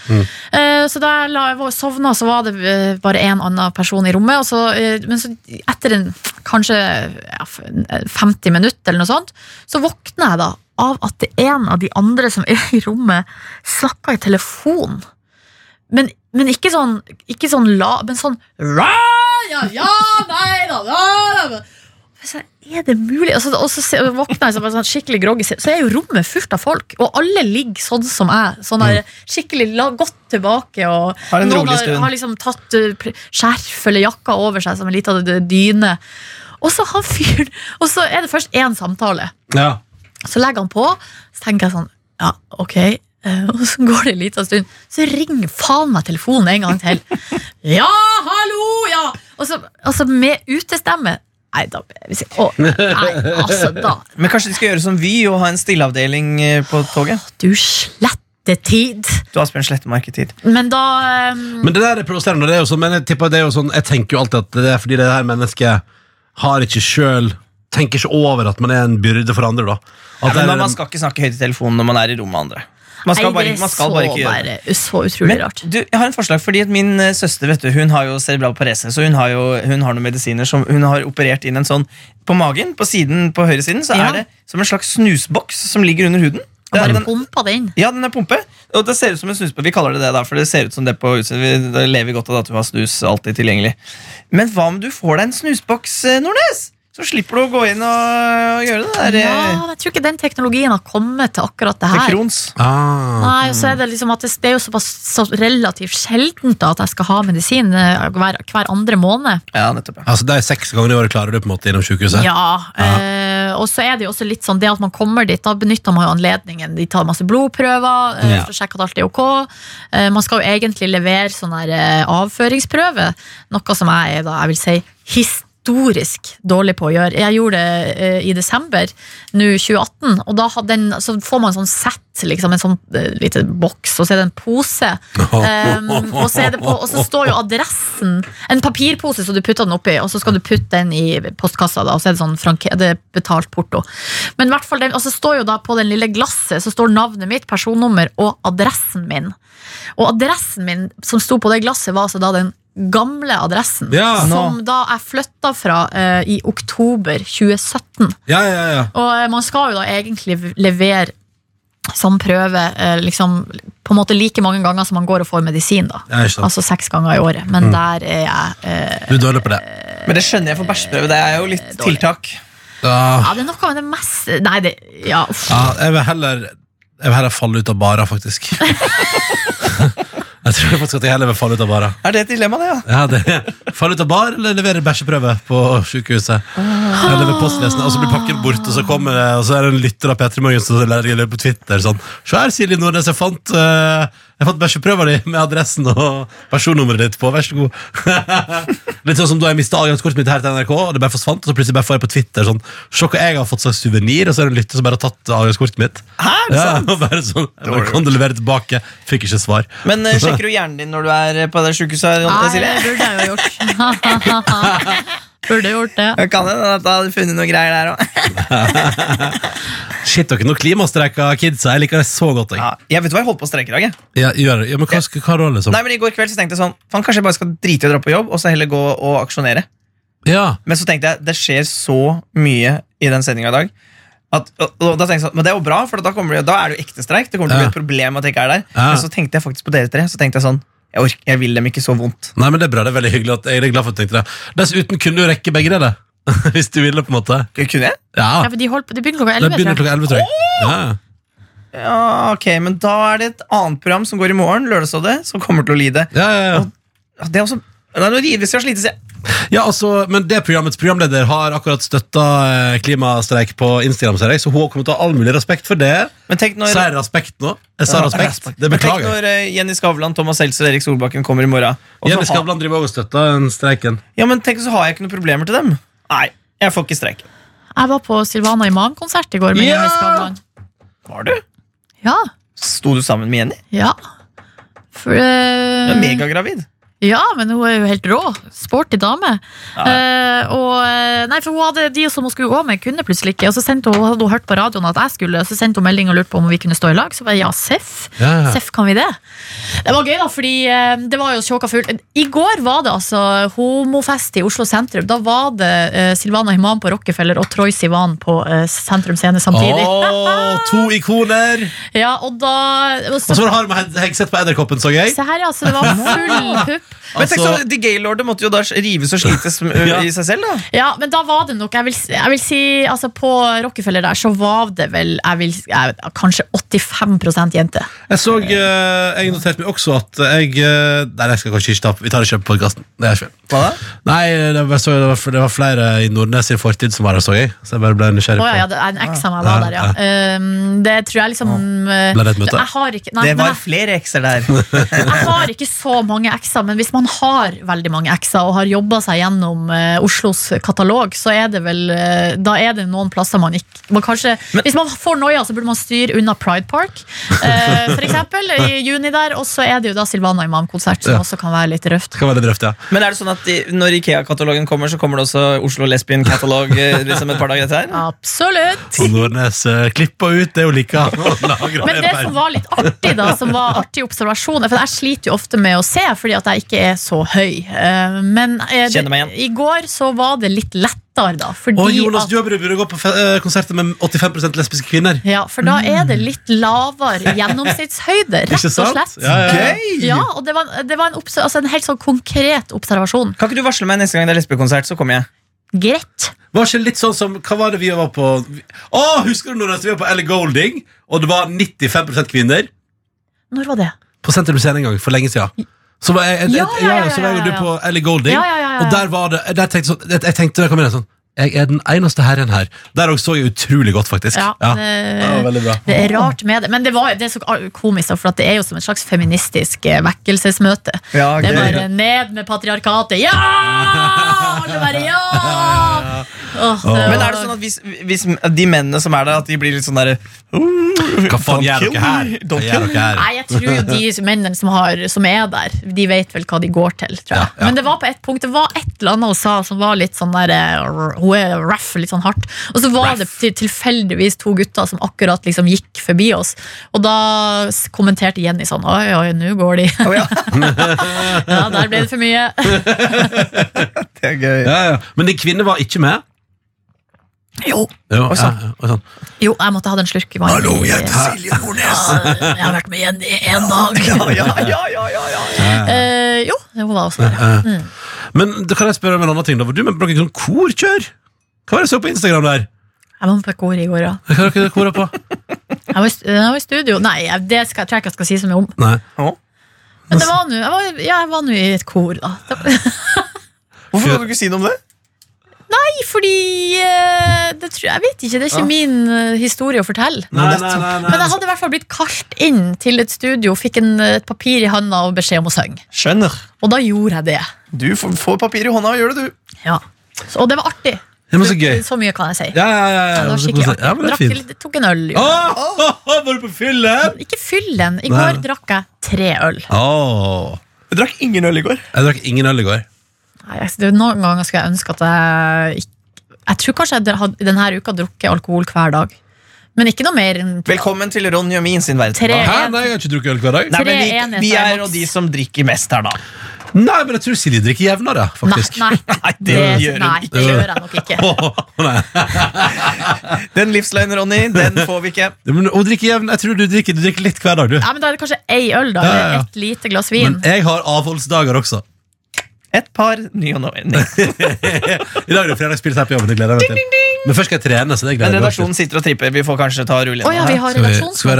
Eh, Så da jeg la- var- sovna, så var det eh, bare en annen person i rommet. Og så, eh, men så etter en, kanskje ja, f- en, eh, 50 minutter eller noe sånt, så våkner jeg da av at det er en av de andre som er i rommet, snakker i telefon. Men, men ikke sånn, ikke sånn la, men sånn «Ra, ja, ja, nei da, da, da. Og så Er det mulig? Og så, og så se- våkner jeg så bare sånn skikkelig groggy, så så er jo rommet fullt av folk. Og alle ligger sånn som jeg. Sånn der, skikkelig la, godt tilbake. Og
Har en
noen
rolig stund.
eh, har liksom tatt uh, pl- skjerf eller jakka over seg som en liten d- dyne. Og så han fyren Og så er det først én samtale.
Ja.
Så legger han på, så tenker jeg sånn Ja, ok Eh, Og så går det en liten stund Så ringer faen meg telefonen en gang til (laughs) Ja, hallo, ja Og så, og så med utestemme Nei, da hvis jeg, å, Nei, altså da
Men kanskje de skal gjøre som Vy og ha en stilleavdeling eh, på toget?
Du slette tid
Du Asbjørn Slettemark i tid.
Men da eh,
Men det der er provoserende. Det er jo sånn, men jeg tipper det er jo sånn Jeg tenker jo alltid at det er fordi det her mennesket har ikke sjøl Tenker ikke over at man er en byrde for andre, da. At
Ja,
det
men
er
da,
en-
man skal ikke snakke høyt i telefonen når man er i rom med andre. Man skal
nei,
bare,
det
man skal
så
bare ikke gjøre det.
bare- Så utrolig
Men
rart
du, jeg har en forslag, fordi at min eh, søster vet du, hun har jo cerebral parese, så hun har jo hun har noen medisiner som hun har operert inn en sånn På magen, på siden, på høyresiden, så
Ja.
er det som en slags snusboks som ligger under huden. Det er
Han bare
den,
pumpa det inn
ja, den er pumpe, og det ser ut som en snusboks. Vi kaller det det, da, for det ser ut som det på utsiden. Vi- Da lever vi godt av at du har snus alltid tilgjengelig. Men hva om du får deg en snusboks, eh, Nordnes? Så slipper du å gå inn og, og gjøre det der.
Ja,
eh,
men jeg tror ikke den teknologien har kommet til akkurat det
til
her
Krohns.
ah.
Nei, og så er det liksom at det, det er jo såpass så relativt sjeldent da, at jeg skal ha medisin eh, hver, hver andre måned.
Ja, nettopp. Ja.
Altså, de seks gangene i året klarer du på en måte innom sykehuset?
Ja, eh, Og så er det jo også litt sånn det at man kommer dit, da benytter man jo anledningen. De tar masse blodprøver eh,
Ja.
for å sjekke at alt er ok. Eh, man skal jo egentlig levere sånn her eh, avføringsprøve, noe som jeg er da, jeg vil si, historisk dårlig på å gjøre. Jeg gjorde det eh, i desember nå 2018, og da hadde den, så får man sånn sett, liksom, en sånn eh, lite boks, og så er det en pose. Um, og, så er det på, og så står jo adressen En papirpose så du putter den oppi Og så skal du putte den i postkassa da, Og så er det sånn franke, det er betalt porto Men i hvert fall, den, og så står jo da på den lille glasset Så står navnet mitt, personnummer Og adressen min Og adressen min som sto på det glasset Var altså da den gamle adressen
Ja.
Som da jeg flytta fra eh, I oktober 2017
Ja, ja, ja.
og eh, man skal jo da egentlig levere sånn prøve eh, liksom, på en måte like mange ganger som man går og får medisin. da.
ja Mm. ikke sant.
Altså seks ganger i året. Men der er jeg eh,
Du er dårlig på det.
Men det skjønner jeg for bæsjeprøve. Det er jo litt
Dårlig.
tiltak.
Ja,
Ja, det er noe av det mest Nei, det Ja, uff.
ja, jeg, vil heller, jeg vil heller falle ut av bara, faktisk. (laughs) jeg tror faktisk at jeg heller vil falle ut av bara.
Er det et dilemma, det? ja?
Ja, det Falle ut av bar eller levere bæsjeprøve på sykehuset? Eller ved postvesenet, og så blir pakken bort, og så kommer det, og så er det en lytter av P3 Morgen som legger det på Twitter sånn Se her, Silje Nordnes, jeg fant, uh, fant bæsjeprøva di med adressen og personnummeret ditt på, vær så god. (laughs) Litt sånn som da jeg mista adgangskortet mitt her til NRK, og det bare forsvant, og så plutselig bare får jeg på Twitter sånn Se hva jeg har fått slags suvenir, og så er det en lytter som bare har tatt adgangskortet mitt.
Hæ, er det
Ja,
sant?
og bare sånn, jeg bare, kan du levere det tilbake? Fikk ikke svar.
Men eh, sjekker du hjernen din når du er eh, på det sjukehuset? her,
Ah,
Nei,
Silje?
det burde jeg jo gjort. (laughs) burde gjort det.
Jeg kan hende at jeg hadde funnet noen greier der
(laughs)
òg.
Shit, dere, nå klimastreika kidsa. Jeg liker det så godt. Jeg.
Ja, jeg vet hva jeg holdt på å streike i dag. jeg.
Ja, gjør det. Ja, men hva, skal, hva da, liksom?
Nei, men I går kveld så tenkte jeg sånn Faen, kanskje jeg bare skal drite i å dra på jobb og så heller gå og aksjonere.
Ja.
Men så tenkte jeg det skjer så mye i den sendinga i dag. At, og, og da tenkte jeg sånn, Men det er jo bra, for da, kommer det, da er det jo ekte streik. Det kommer til å
Ja.
bli et problem at jeg ikke er der.
Ja.
Men så tenkte jeg faktisk på dere tre. Så tenkte jeg sånn Jeg, orker, jeg vil dem ikke så vondt.
Nei, men det er bra. Det er veldig hyggelig at jeg er glad for at du tenkte det. Dessuten kunne du rekke begge deler. (laughs) Hvis du ville, på en måte.
Kunne jeg?
Ja,
Ja.
for de, holdt på, de begynner klokka
Det
11.
begynner
tror jeg.
klokka 11, tror jeg. Ja.
Ja, ok, Men da er det et annet program som går i morgen, Lørdagsrådet, som kommer til å lide.
Ja, ja, ja.
Ja, Det er også Nei, nå rives jeg og slites, jeg.
ja, altså, men det programmets programleder har akkurat støtta klimastreik på Instagram, ser jeg, så hun har kommet til å ha all mulig respekt for det.
Men tenk når,
Sa jeg respekt nå? Jeg sa
Ja,
respekt.
respekt.
Det
Men tenk
beklager jeg.
når eh, Jenny Skavlan, Thomas Seltzer og Erik Solbakken kommer i morgen. Og så
Jenny
ha-
Skavlan driver også og støtter den streiken.
Ja, men tenk så har jeg ikke noen problemer til dem. Nei, jeg får ikke streik.
Jeg var på Silvana Imam-konsert i går med
Ja!
Jenny Skavlan.
Var du?
Ja.
Sto du sammen med Jenny?
Ja. For,
Du
eh,
er megagravid.
Ja, men hun er jo helt rå. Sporty dame. Eh, og, eh, nei, for hun hadde De som hun skulle gå med, kunne plutselig ikke. Og så sendte hun, hadde hun hørt på radioen at jeg skulle, og så sendte hun melding og lurte på om vi kunne stå i lag. Så bare ja, seff.
Ja.
Seff, kan vi det? Det var gøy, da, fordi eh, det var jo sjåka fullt. I går var det altså homofest i Oslo sentrum. Da var det eh, Silvana Himan på Rockefeller og Troy Sivan på eh, Sentrum Scene samtidig.
Å, to ikoner!
Ja, og da
Og så var det Harm Hegseth på Edderkoppen, så jeg.
Se her, ja. Så det var full pupp
Men tenk
Altså-
så, De gaylorde måtte jo da rives og
(laughs)
slites
Ja.
i seg selv, da.
Ja, men da var det nok Jeg vil, jeg vil si, altså På Rockefeller der så var det vel jeg vil, jeg, kanskje 85 jenter.
Jeg så, eh, jeg noterte meg også at jeg eh, Nei, jeg skal kanskje ikke ta opp. Vi tar det ikke opp på podkasten. Det er ikke feil.
Hva da?
Nei, det var, jeg så, det, var, det var flere i Nordnes sin fortid som var her, så jeg. Så jeg bare ble nysgjerrig.
Å ja, ja,
på
det er en eks av meg var der, ja. Um, det tror jeg liksom uh,
Ble det et møte?
Jeg har ikke, nei,
Det
men
var flere ekser der.
jeg, jeg har ikke så mange ekser, men hvis man har veldig mange ekser og har jobba seg gjennom uh, Oslos katalog, så er det vel uh, Da er det noen plasser man ikke man kanskje, Hvis man får noia, så burde man styre unna Pride Park, uh, for eksempel, i juni der. Og så er det jo da Silvana Imam-konsert, som
Ja.
også kan være litt røft.
Det kan være litt
(laughs)
røft, ja.
Men er det sånn at de, når Ikea-katalogen kommer, så kommer det også Oslo Lesbian Catalog eh, liksom et par dager etter? her?
Absolutt!
Og Nordnes eh, klippa ut det hun
(laughs)
liker.
Men det som var litt artig, da, som var artig observasjon For jeg sliter jo ofte med å se, fordi at jeg ikke er så høy. Eh, Men eh, det,
Kjenner meg
i går så var det litt lettere, da. Fordi
Og Jonas
at
Jøberud burde gå på fe- eh, konserter med 85 lesbiske kvinner.
ja, For da er det litt lavere gjennomsnittshøyde, rett
Ikke
og
sant?
slett.
Ja, ja, ja.
Ja, og det var, det var en, obs- altså en helt sånn konkret observasjon.
Kan ikke du varsle meg neste gang det er lesbekonsert, så kommer jeg?
Greit.
Var ikke litt sånn som, Hva var det vi var på? Å, Husker du Nordnes? Vi var på Elle Golding, og det var 95 kvinner.
Når var det?
På Senter Lucene en gang, for lenge siden. Så var jeg, jeg,
Ja,
jeg,
ja,
ja,
ja,
så var jeg og
ja,
du
ja.
på Elle Golding,
Ja, ja, ja, ja.
og der var det der tenkte jeg sånn, jeg, jeg tenkte, da kom jeg sånn Jeg er den eneste herren her. Der også så jeg utrolig godt, faktisk.
Ja,
Ja. Det var
det,
veldig bra.
det er rart med det. Men det, var, det er så komisk, da, for at det er jo som et slags feministisk eh, vekkelsesmøte.
Ja,
Det er
gøy.
bare ned med patriarkatet. Ja! Alle bare ja! Åh, det var-
Men er det sånn at hvis, hvis de mennene som er der, at de blir litt sånn derre
Hva faen
Don't
gjør
kill
dere her?
me,
Hva
don't
gjør dere her?
Nei, jeg tror jo de mennene som, har, som er der, de vet vel hva de går til, tror jeg.
Ja, ja.
Men det var på et punkt, det var et eller annet hun sa som var litt sånn der eh, r- Hun er raff, litt sånn hardt. Og så var det til, tilfeldigvis to gutter som akkurat liksom gikk forbi oss. Og da s- kommenterte Jenny sånn Oi, oi, nå går de. (laughs)
Å ja,
Ja, der ble det for
(laughs)
mye.
det er gøy.
Ja, ja. Men de kvinner var ikke med?
Jo,
Jo,
Oi,
ja, sånn.
sant.
ja, sant.
jo jeg måtte ha den slurken. vann.
Hallo, jeg er her.
Silje Nordnes.
Ja, Jeg har vært med Jenny i én dag.
(laughs)
Ja, ja, ja, ja, ja, ja.
Eh, jo, hun var også der.
Eh, Men da kan jeg spørre om en annen ting. Da. Var du med på noen sånn korkjør? Hva var det jeg så på Instagram der?
Jeg var med på et kor i går, ja.
Hva har dere kora på?
Jeg var i, st- jeg var i studio. Nei, jeg- det skal, tror jeg ikke jeg skal si så mye om.
Nei.
Men det var nå- jeg var- ja, jeg var nå i et kor, da. Det var,
Hvorfor kan du ikke si noe om det?
nei, fordi eh, det tror, Jeg vet ikke. Det er ikke min eh, historie å fortelle.
Nei, nei, nei, nei.
Men jeg hadde i hvert fall blitt kalt inn til et studio, fikk en, eh, et papir i handa og beskjed om å synge.
Skjønner.
Og da gjorde jeg det.
Du får, får papir i hånda og gjør det, du.
Ja. Så, og det var artig.
Det var så gøy.
Så mye kan jeg si.
Ja, ja, ja. ja.
det var skikkelig artig.
ja men det er
Drakk
fint.
litt- tok en øl.
Å,
gjorde jeg.
å, å, var du på fyllet?
Ikke fyll den. I
Nei.
går drakk jeg tre øl.
Å.
Jeg drakk ingen øl i går.
Jeg drakk ingen øl i går.
Nei, jeg- det er Noen ganger skulle jeg ønske at jeg ikke Jeg tror kanskje jeg hadde, denne uka drukket alkohol hver dag. Men ikke noe mer enn
Velkommen til Ronny og min sin verden.
Tre.
Hæ? Nei, jeg har ikke drukket øl hver dag.
Nei, men
Tre enheter
vi, vi
er maks.
er jo de som drikker mest her, da.
Nei, men jeg tror Silje drikker jevnere,
Nei,
faktisk.
nei,
(laughs)
Nei, det gjør
det,
hun.
nei, det gjør jeg nok ikke.
Å, å, nei.
Den livsløgnen, Ronny, den får vi ikke.
Men hun drikker jevn Jeg tror du drikker, du drikker litt hver dag, du.
Nei, men Da er det kanskje ei øl, da.
Ja, ja, ja.
Eller et lite glass vin.
Men jeg har avholdsdager også.
Et par ny og nå.
(laughs)
Nei.
I dag er det jo fredagspils her på jobben. Det gleder jeg meg til. Men først skal jeg trene. så det gleder
Men
jeg meg til.
redaksjonen sitter og tripper. Vi får kanskje ta og rulle
Å ja, vi har
Skal vi, skal vi ha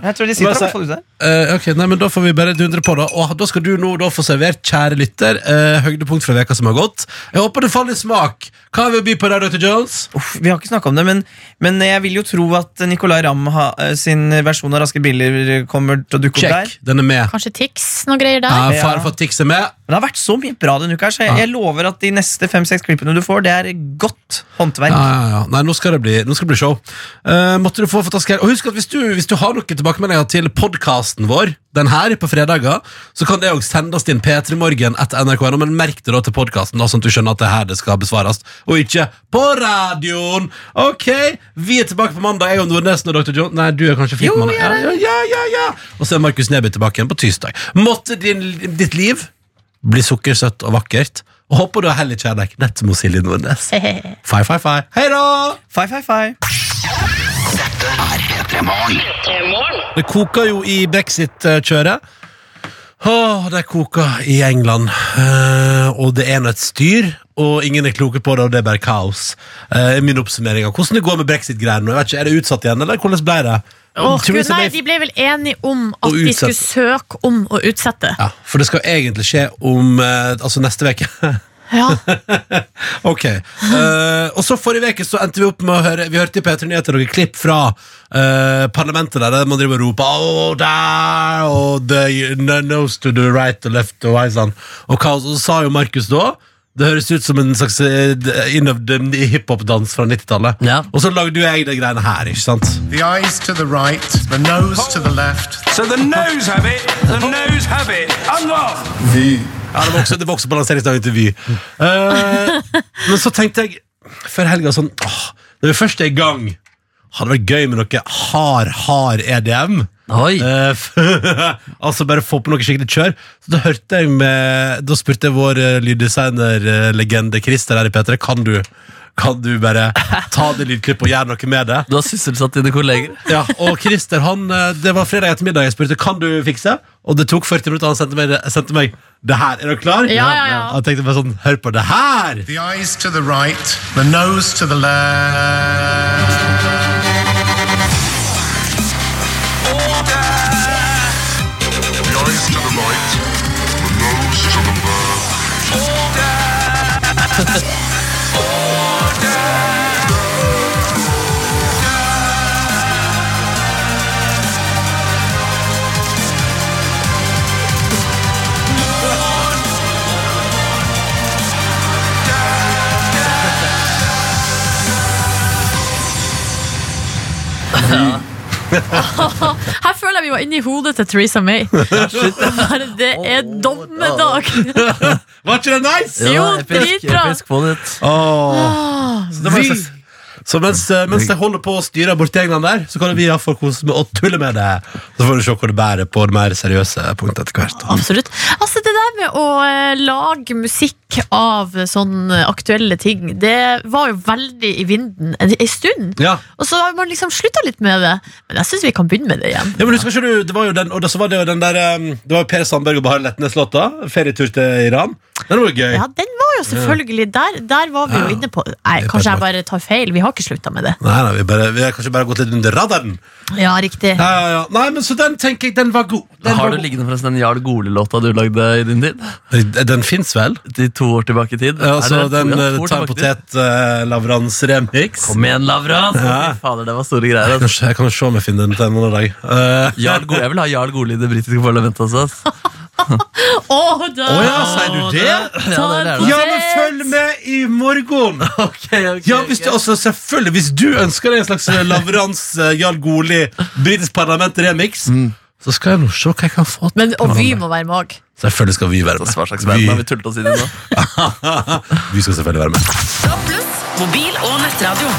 redaksjonsmøte?
Jeg tror de
Men
sitter
altså-
og får ut det.
Eh, ok, nei, men Da får vi bare dundre på, da. Og da skal du nå da få servert, kjære lytter, eh, høydepunkt fra veka som har gått. Jeg håper det faller i smak. Hva vil by på der, Dr. Jones?
Uff, vi har ikke snakka om det, men, men jeg vil jo tro at Nicolay Ramm ha- eh, sin versjon av Raske biler kommer til å dukke opp der.
Check. Den er med.
Kanskje Tix, noe greier der.
Ja, faren for Tix er med.
Men det har vært så mye bra denne uka, her, så jeg, jeg lover at de neste fem-seks klippene du får, det er godt håndverk.
Ja, ja, ja. Nei, nå skal det bli, nå skal det bli show. Eh, måtte du få fantastisk helg. Og husk at hvis du, hvis du har noen tilbakemeldinger til podkasten vår, den her på fredager, så kan det òg sendes inn p3morgen etter nrk.no, men merk det da til podkasten, sånn at du skjønner at det er her det skal besvares, og ikke på radioen. Ok, vi er tilbake på mandag, jeg og Nordnesen og Dr. John. Nei, du er kanskje fri
Jo,
på mandag.
jeg er
Ja, ja, ja, ja. Og så er Markus Neby tilbake igjen på tirsdag. Måtte din, ditt liv bli sukkersøtt og vakkert, og håper du har hellig kjærlighet, nett som hos Silje Nordnes. Fei, fei, fei. Hei da!
Fei, fei, fei.
P3 Morgen.
Det koker jo i brexit-kjøret. Åh, det koker i England. Eh, og det er nå et styr, og ingen er kloke på det, og det er bare kaos. Eh, min oppsummering av hvordan det går med brexit-greiene. nå. Jeg vet ikke, Er det utsatt igjen, eller hvordan ble det?
Åh,
Tror
Gud,
jeg
nei,
det
De ble vel enige om at
Å
de
utsette.
skulle søke om å utsette.
ja, for det skal egentlig skje om eh, Altså neste uke. (laughs)
Ja.
ok. Eh, og så forrige uke så endte vi opp med å høre Vi hørte i P3 Nyheter noen klipp fra eh, parlamentet der, der man driver og roper oh, der, og the no- nose to the right og left og hei sann. Og hva og så sa jo Markus da? Det høres ut som en slags eh, innøvd eh, hiphop-dans fra 90-tallet.
Ja.
Og så lagde jo jeg de greiene her, ikke sant?
The eyes to the right, the nose to the left.
So the nose have it, the nose have it, and off.
Ja, det var også, det var også balanseringsdagen til Vy. Eh, men så tenkte jeg før helga sånn åh, Når vi først er i gang, hadde det vært gøy med noe hard, hard EDM.
Oi.
Eh, (laughs) f- altså bare få på noe skikkelig kjør. Så Da hørte jeg med Da spurte jeg vår eh, lyddesigner-legende Christer her i P3 Kan du Kan du bare ta det lydklippet og gjøre noe med det.
Du har sysselsatt dine kolleger.
Ja, og Christer, han, eh, det var fredag ettermiddag jeg spurte Kan du fikse, og det tok 40 minutter Han sendte meg, sendte meg det her, er du klar?
Ja, ja, ja.
Han tenkte bare sånn, hør på det her
The eyes to the right, the nose to the left.
Her føler jeg vi var inne i hodet til Theresa
(laughs)
May. Bare, Det er dommedag!
Var ikke det nice?
Jo,
Ja, episk,
dritbra.
episk på ditt.
Ah.
Så, det var en slags- så mens, eh, mens de holder på å styre bort til England der Så kan vi i hvert fall kose med å tulle med det Så får du se hvor det bærer på det mer seriøse punktet etter hvert
Absolutt. Altså Det der med å eh, lage musikk av sånn eh, aktuelle ting, det var jo veldig i vinden en, en stund.
Ja
Og så har man liksom slutta litt med det. Men jeg syns vi kan begynne med det igjen.
Ja, men husker ikke du, det var jo den, og da så var det jo den der um, Det var jo Per Sandberg og Bahar Letnes-låta Ferietur til Iran Den var jo gøy
Ja, den var jo selvfølgelig Der, der var vi jo inne på Nei, Kanskje jeg bare tar feil. Vi har ikke slutta med det.
Nei, nei, vi, bare, vi har kanskje bare gått litt under radaren
Ja, riktig.
Ja, ja, ja. Nei, men så den tenker jeg, den var god. Den,
Har
var
du liggende forresten den Jarl Gole-låta du lagde i din tid?
god. den fins vel?
De to år tilbake i tid?
Ja, Altså,
Er det
den
to- ja, to
eh,
år
tar
tilbake i tid?
potet eh, lavrans remix.
Kom igjen, Lavran! Fy Fader, det var store greier. ass.
Kanskje jeg kan se om jeg finner den til en annen dag. Eh,
Jarl Gole, jeg vil ha Jarl Gole i det britiske parlamentet også. ass.
Å, da!
Å ja, sier du det?
Ja, det er det.
Ja, men følg med i morgen!
Ok, ok,
Ja, hvis du,
ok.
altså, selvfølgelig, hvis du ønsker deg en slags eh, lavrans eh, Jarl Goli britisk parlament remix,
Mm.
så skal jeg nå se hva jeg kan få til.
Men, og Vy må være mag.
Selvfølgelig skal vi være
Hva slags
med.
verden har vi
Vi,
tullet oss inn i nå?
vi skal selvfølgelig være med.
Mobil og nettradio.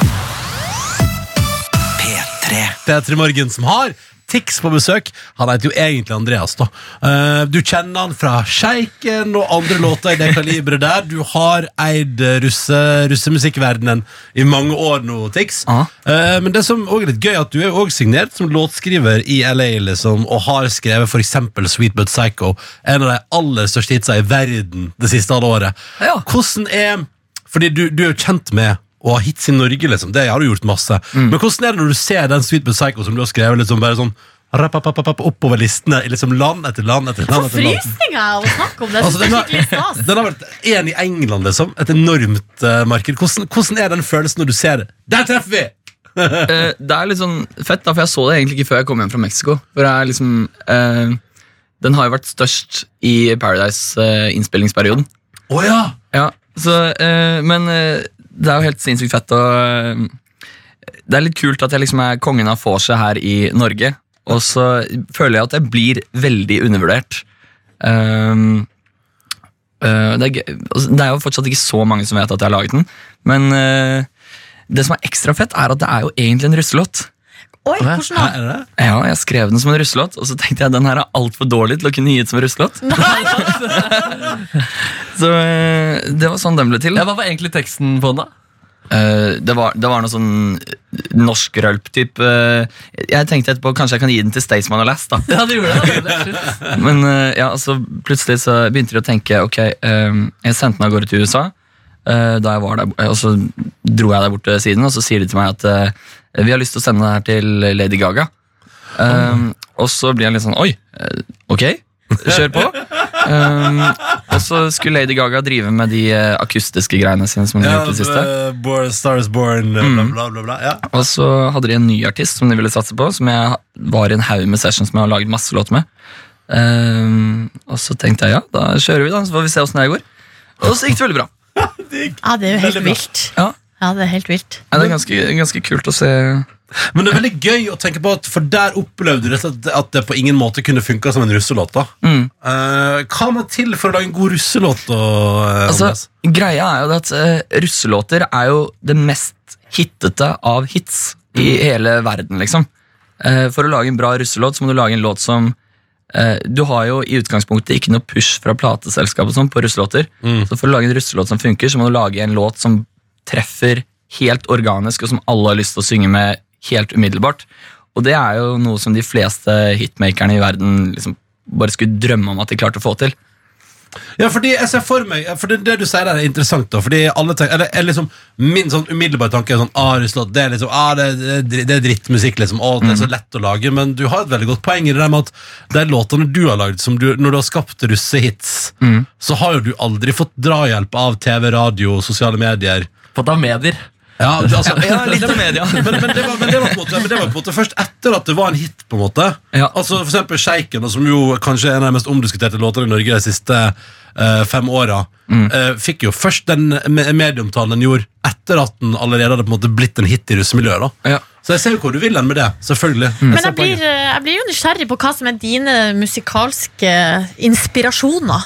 P3 Morgen som har Tix på besøk. Han heter jo egentlig Andreas, da. Eh, du kjenner han fra Sjeiken og andre låter i det kaliberet der. Du har eid eh, russe, russemusikkverdenen i mange år nå, Tix.
Ja.
Eh, men det som også er litt gøy, er at du er jo også signert som låtskriver i LA, liksom, og har skrevet f.eks. Sweet But Psycho, en av de aller største hitsa i verden det siste halve året.
Ja.
Hvordan er Fordi du, du er jo kjent med å ha hits i Norge, liksom. Det har du gjort masse. Men hvordan er det når du ser den Sweet But Psycho som du har skrevet, liksom bare sånn rapapapapapp, oppover listene, i liksom land etter land etter land? etter land.
Frysninger av å snakke om det. Jeg
Altså,
synes det
den,
er skikkelig
har,
stas.
den har vært én i England, liksom. Et enormt eh, marked. Hvordan, hvordan er den følelsen når du ser det? Der treffer vi!
Eh, det er litt sånn fett, da, for jeg så det egentlig ikke før jeg kom hjem fra Mexico. For jeg liksom, eh, den har jo vært størst i Paradise-innspillingsperioden.
Å ja!
ja, så, eh, men eh, det er jo helt sinnssykt fett. Og, eh, det er litt kult at jeg liksom er kongen av vorset her i Norge. Og så føler jeg at jeg blir veldig undervurdert. Ehm, eh, det, er, gøy- altså, det er jo fortsatt ikke så mange som vet at jeg har laget den, men eh, det som er ekstra fett, er at det er jo egentlig en russelåt.
Oi, hvordan
Hæ,
da?
er det? det?
Ja, jeg skrev den som en russelåt, og så tenkte jeg den her er altfor dårlig til å kunne gi ut som en russelåt. så eh, det var sånn den ble til.
Ja, hva var egentlig teksten på den, da?
Eh, det, var, det var noe sånn
norsk rølp typ. eh, Jeg tenkte etterpå kanskje jeg kan gi den til Staysman og Last. da
Ja, det gjorde det. det er slutt.
(laughs) Men eh, ja, så plutselig så begynte de å tenke Ok, eh, jeg sendte den av gårde til USA eh, Da jeg var der eh, Og så dro jeg der borte siden Og så sier de til meg at eh, Vi har lyst til å sende det her til Lady Gaga Eh, Og så blir jeg litt sånn Oi, eh, ok, kjør på Eh, Og så skulle Lady Gaga drive med de eh, akustiske greiene sine Som hun
Ja,
gjorde til siste
eh, Born, Star is born, bla, bla, bla. bla, bla. Ja.
Og så hadde de en ny artist som de ville satse på, som jeg var i en haug med sessions med og laget masse låter med. Ehm, og så tenkte jeg ja, da kjører vi, da, så får vi se åssen det her går. Og så gikk det veldig bra.
Ja, det er jo helt vilt.
Ja.
Ja, det er helt vilt.
Ja, det er ganske, ganske kult å se.
Men det er veldig gøy å tenke på at For der opplevde du rett og slett at det på ingen måte kunne funka som en russelåt. da
Mm.
Eh, Hva må til for å lage en god russelåt? da, eh,
Altså,
Andreas?
greia er jo det at eh, russelåter er jo det mest hittete av hits i hele verden, liksom. Eh, for å lage en bra russelåt, så må du lage en låt som eh, Du har jo i utgangspunktet ikke noe push fra plateselskap og sånn på russelåter. Så for å lage en russelåt som funker, så må du lage en låt som treffer helt organisk, og som alle har lyst til å synge med helt umiddelbart. Og det er jo noe som de fleste hitmakerne i verden liksom bare skulle drømme om at de klarte å få til.
Ja, fordi jeg ser for meg For det, det du sier der er interessant da Fordi alle tenker Eller, eller liksom Min sånn umiddelbare tanke er sånn Ah, russlåt Det er liksom Ah, det, det, er dri- det er drittmusikk liksom Å, det er
Mm.
så lett å lage Men du har et veldig godt poeng i det der med at De låtene du har laget Som du Når du har skapt russehits
Mm.
Så har jo du aldri fått drahjelp av TV, radio, sosiale medier
Fått av medier.
ja, du, altså,
Ja, litt av media.
men, men, det var, men, det var på en måte, men det var på en måte først etter at det var en hit, på en måte.
Ja.
Altså For eksempel Sjeiken, da, som jo kanskje er en av de mest omdiskuterte låtene i Norge de siste eh, fem åra,
Mm.
eh, fikk jo først den me- medieomtalen den gjorde etter at den allerede hadde på en måte blitt en hit i russemiljøet. da
Ja.
Så jeg ser jo hvor du vil hen med det, selvfølgelig.
Mm.
Men jeg blir, eh, jeg blir jo nysgjerrig på hva som er dine musikalske eh, inspirasjoner.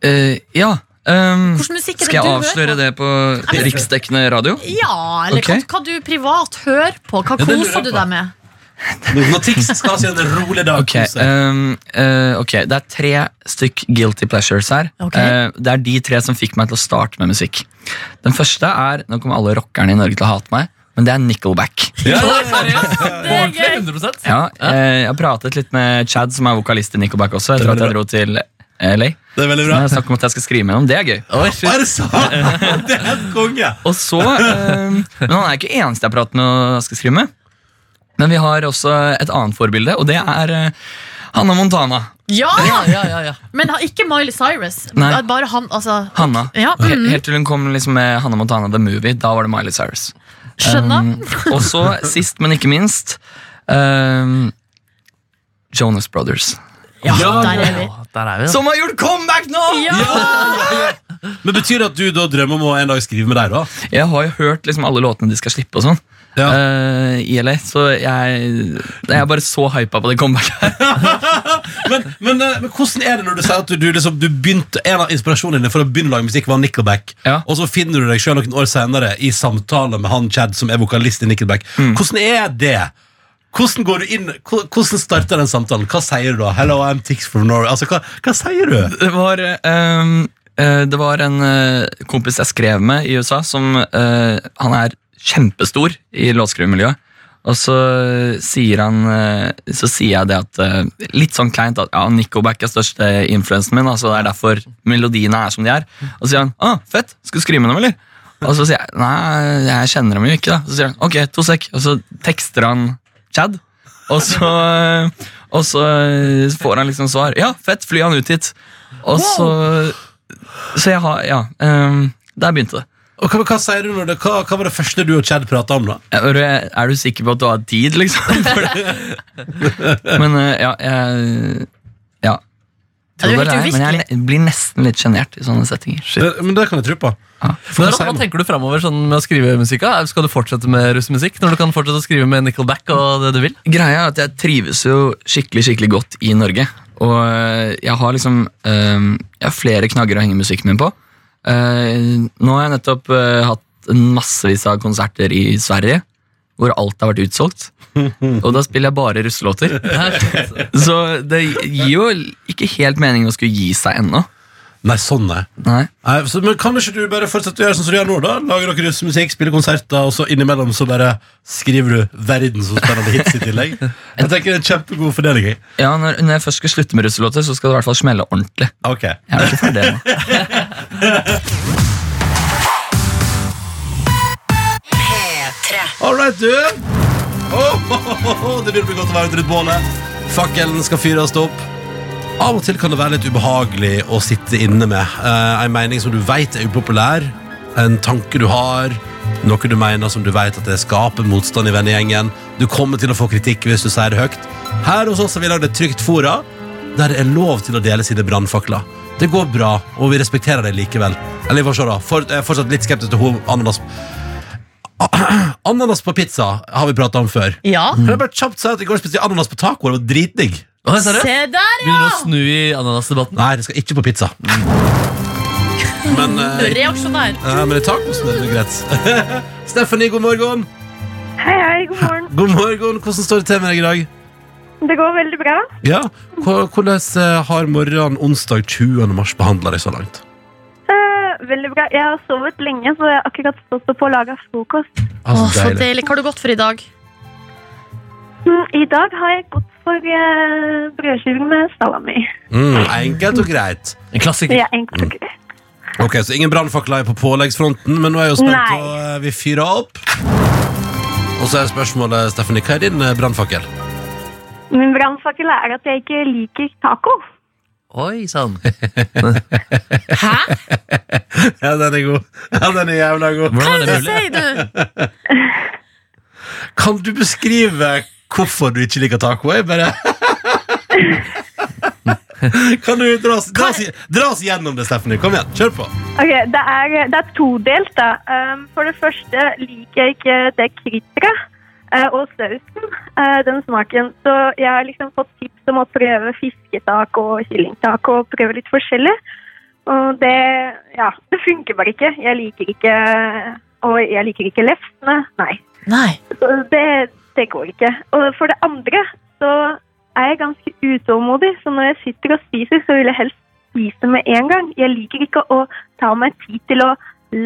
Eh, ja. ehm,
Hvordan musikk er det
skal jeg
du
avsløre
hører på?
det på
men-
riksdekkende radio?
Ja, eller
Ok.
hva, hva du privat hører på. Hva
Ja, det lurer
koser
jeg
du
på.
deg med?
Når Tix skal si en rolig dag.
Ok,
kose.
ehm, eh, ok, Det er tre stykk guilty pleasures her.
Ok.
Eh, det er de tre som fikk meg til å starte med musikk. Den første er Nå kommer alle rockerne i Norge til å hate meg, men det
(laughs)
er Nickelback.
ja,
Det er gøy.
100
Ja, eh, jeg pratet litt med Chad, som er vokalist i Nickelback også, etter at jeg dro til LA.
det er veldig bra.
Så nå har jeg snakket om at jeg skal skrive med ham. Det er gøy.
Oi, shit. Er det sant? (laughs) Det er en
(laughs)
konge!
Og så, eh, Men han er ikke eneste jeg prater med og skal skrive med. Men vi har også et annet forbilde, og det er eh, Hanna Montana.
Ja,
Ja, ja, ja.
men ha- ikke Miley Cyrus.
Nei.
Bare han, altså.
Hanna.
Ja,
He-
mm,
Helt til hun kom liksom med Hanna Montana The Movie. Da var det Miley Cyrus.
skjønner.
Mm.
Um, og så, sist, men ikke minst, um, Jonas Brothers.
Ja, der er vi.
Der er vi.
Som har gjort comeback nå!
Ja,
Men Betyr det at du da drømmer om å en dag skrive med deg, da?
Jeg har jo hørt liksom alle låtene de skal slippe og sånn.
Ja.
eh, i LA, så jeg, jeg er bare så hypa på det comebacket. her.
men, men, eh, men hvordan er det når du sier at du, du, liksom, du begynte En av inspirasjonene dine for å begynne å lage musikk var Nickelback,
Ja.
og så finner du deg selv noen år senere i samtale med han Chad som er vokalist i Nickelback. Hvordan er det? Hvordan går du inn, ko- hvordan starter den samtalen? Hva sier du da? Hello, I'm Tix from Norway. Altså, hva, hva sier du?
Det var, ehm, eh, det var en eh, kompis jeg skrev med i USA, som eh, han er kjempestor i låtskrivermiljøet. Og så sier han eh, Så sier jeg det at eh, Litt sånn kleint at ja, Nickelback er største influensen min. Altså det er derfor melodiene er som de er. Og så sier han ah, fett, skal du skrive med dem, eller? Og så sier jeg nei, jeg kjenner dem jo ikke. da Så sier han ok, to sek. Og så tekster han Chad. Og så, eh, og så får han liksom svar. Ja, fett, fly han ut hit. Og så Så jeg har Ja. ehm, der begynte det.
Og hva, hva, sier du når det, hva, hva var det første du og Chad prata om, da?
Er du, er du sikker på at du har tid, liksom? (laughs) For det- men eh, ja, jeg Ja.
Ja, du er
Tror
helt
det er, men jeg ne- blir nesten litt sjenert i sånne settinger.
Det- Men det kan jeg tro på.
Men Hva tenker du fremover sånn med å skrive musikk? da? Skal du fortsette med russemusikk når du kan fortsette å skrive med Nickelback og det du vil?
Greia er at jeg trives jo skikkelig skikkelig godt i Norge. Og øh, jeg har liksom øh, Jeg har flere knagger å henge musikken min på. Eh, nå har jeg nettopp øh, hatt massevis av konserter i Sverige, hvor alt har vært utsolgt. Og da spiller jeg bare russelåter.
(laughs)
Så det gir jo ikke helt mening å skulle gi seg ennå.
Nei, sånn nei.
Nei.
nei så, men kan ikke du bare fortsette å gjøre sånn som du gjør nå, da? Lager dere musikk, spiller konserter, og så innimellom så bare skriver du verdensomspennende hits i tillegg? Jeg tenker det er en kjempegod fordeling. jeg.
Ja, når, når jeg først skal slutte med russelåter, så skal det i hvert fall smelle ordentlig.
Ok.
Jeg er ikke ferdig
(laughs)
ennå.
All right, du. Oh, ho, ho, ho, det begynner å bli godt å være ute rundt bålet. Fakkelen skal fyres opp. Av og til kan det være litt ubehagelig å sitte inne med. Eh, en mening som du vet er upopulær, en tanke du har, noe du mener som du vet at det skaper motstand i vennegjengen. Du kommer til å få kritikk hvis du sier det høyt. Her hos oss har vi lagd et trygt fora der det er lov til å dele sine brannfakler. Det går bra, og vi respekterer det likevel. Eller vi får se, da. For, jeg er fortsatt litt skeptisk til ho- ananas. Ananas på pizza har vi prata om før.
Ja,
Kan jeg bare kjapt si at I går spiste jeg ananas på taco. Det var dritdigg.
Hva sa du?
se der, ja!
Begynner å snu i ananasdebatten.
Nei, det skal ikke på pizza. Men, eh,
Reaksjonær.
eh, men i tacosen er det greit. (laughs) Stephanie, god morgen.
Hei, hei, god morgen.
(laughs) God morgen, Hvordan står det til med deg i dag?
Det går veldig bra.
Ja, hva- Hvordan eh, har morgenen onsdag 20. mars behandla deg så langt?
Eh, veldig bra. Jeg har sovet lenge, så jeg har akkurat stått opp og laga frokost.
Å,
Altså,
så
deilig.
deilig. Hva har du gått for i dag?
Mm, I dag har jeg gått for uh, brødskiver med salami.
Mm, enkelt og greit.
En klassiker.
Det er enkelt og greit.
Ok, Så ingen brannfakler er på påleggsfronten, men nå er jeg jo spent
Nei.
på eh, Vi fyrer opp. Og så er spørsmålet, Stephanie, hva er din eh, brannfakkel?
Min brannfakkel er at jeg ikke liker taco.
Oi sann.
(laughs)
Hæ?
(laughs) Ja, den er god. Ja, den er jævla god.
Hva
Hvordan
er
er
det
det
du
mulig?
sier, du?
Kan du beskrive hvorfor du ikke liker taco? Jeg bare Kan du dra oss, dra, oss, dra oss gjennom det, Stephanie. Kom igjen, kjør på.
Ok, Det er, det er todelt, da. Um, for det første liker jeg ikke det krydderet eh, og sausen. eh, den smaken. Så jeg har liksom fått tips om å prøve fisketaco og kyllingtaco og prøve litt forskjellig. Og det Ja, (laughs) det funker bare ikke. Jeg liker ikke Og jeg liker ikke lefsene. Nei.
Nei.
Så det, det går ikke. Og for det andre så er jeg ganske utålmodig, så når jeg sitter og spiser, så vil jeg helst spise med en gang. Jeg liker ikke å ta meg tid til å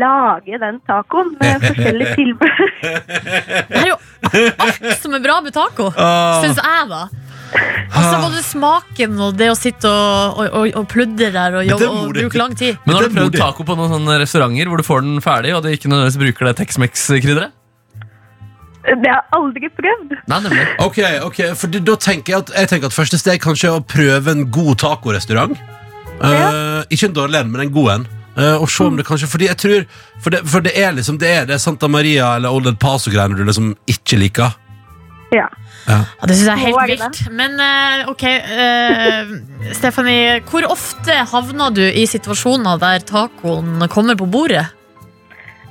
lage den tacoen med forskjellige tilbud.
Det er jo alt som er bra med taco,
Ah.
syns jeg, da. Altså Både smaken og det å sitte og, og, og, og pludre der og, jobbe, og
modig.
bruke lang tid.
Men har
Det
du
er
prøvd
modig.
taco på noen sånne restauranter hvor du får den ferdig, og du ikke nødvendigvis bruker det Tex-Mex-krydderet?
Det har jeg aldri prøvd.
Nei, nemlig.
Ok, ok, for det- da tenker jeg at, jeg tenker at Første steg kanskje er å prøve en god tacorestaurant. Eh, ikke en dårlig en, men en god en. Eh, og se om det kanskje Fordi jeg tror For det, for det er liksom det er det Santa Maria eller Old El Paso-greiene du liksom ikke liker.
Ja.
Ja, det syns jeg er
Nå
helt
er det
vilt. Men eh, ok, eh, Stephanie. Hvor ofte havner du i situasjoner der tacoen kommer på bordet?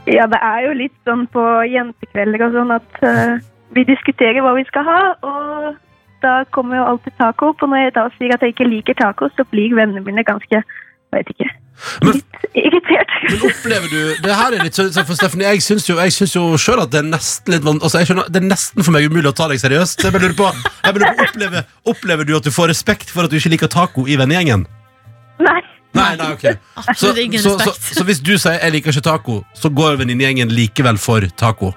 ja, det er jo litt sånn på jentekvelder og sånn at eh, vi diskuterer hva vi skal ha, og da kommer jo alltid taco opp. Og når jeg da sier at jeg ikke liker taco, så blir vennene mine ganske jeg vet ikke.
Men-
Litt irritert.
Men opplever du Det her er litt sånn sånn for Steffen, jeg syns jo, jeg syns jo selv at det er nesten litt vanskelig altså, jeg skjønner, Det er nesten for meg umulig å ta deg seriøst. Så Jeg bare lurer på, jeg bare lurer på opplever, opplever du at du får respekt for at du ikke liker taco i vennegjengen?
Nei. (laughs)
Nei, nei, ok så,
Absolutt ingen
så, så,
respekt.
så hvis du sier 'jeg liker ikke taco', så går venninnegjengen likevel for taco?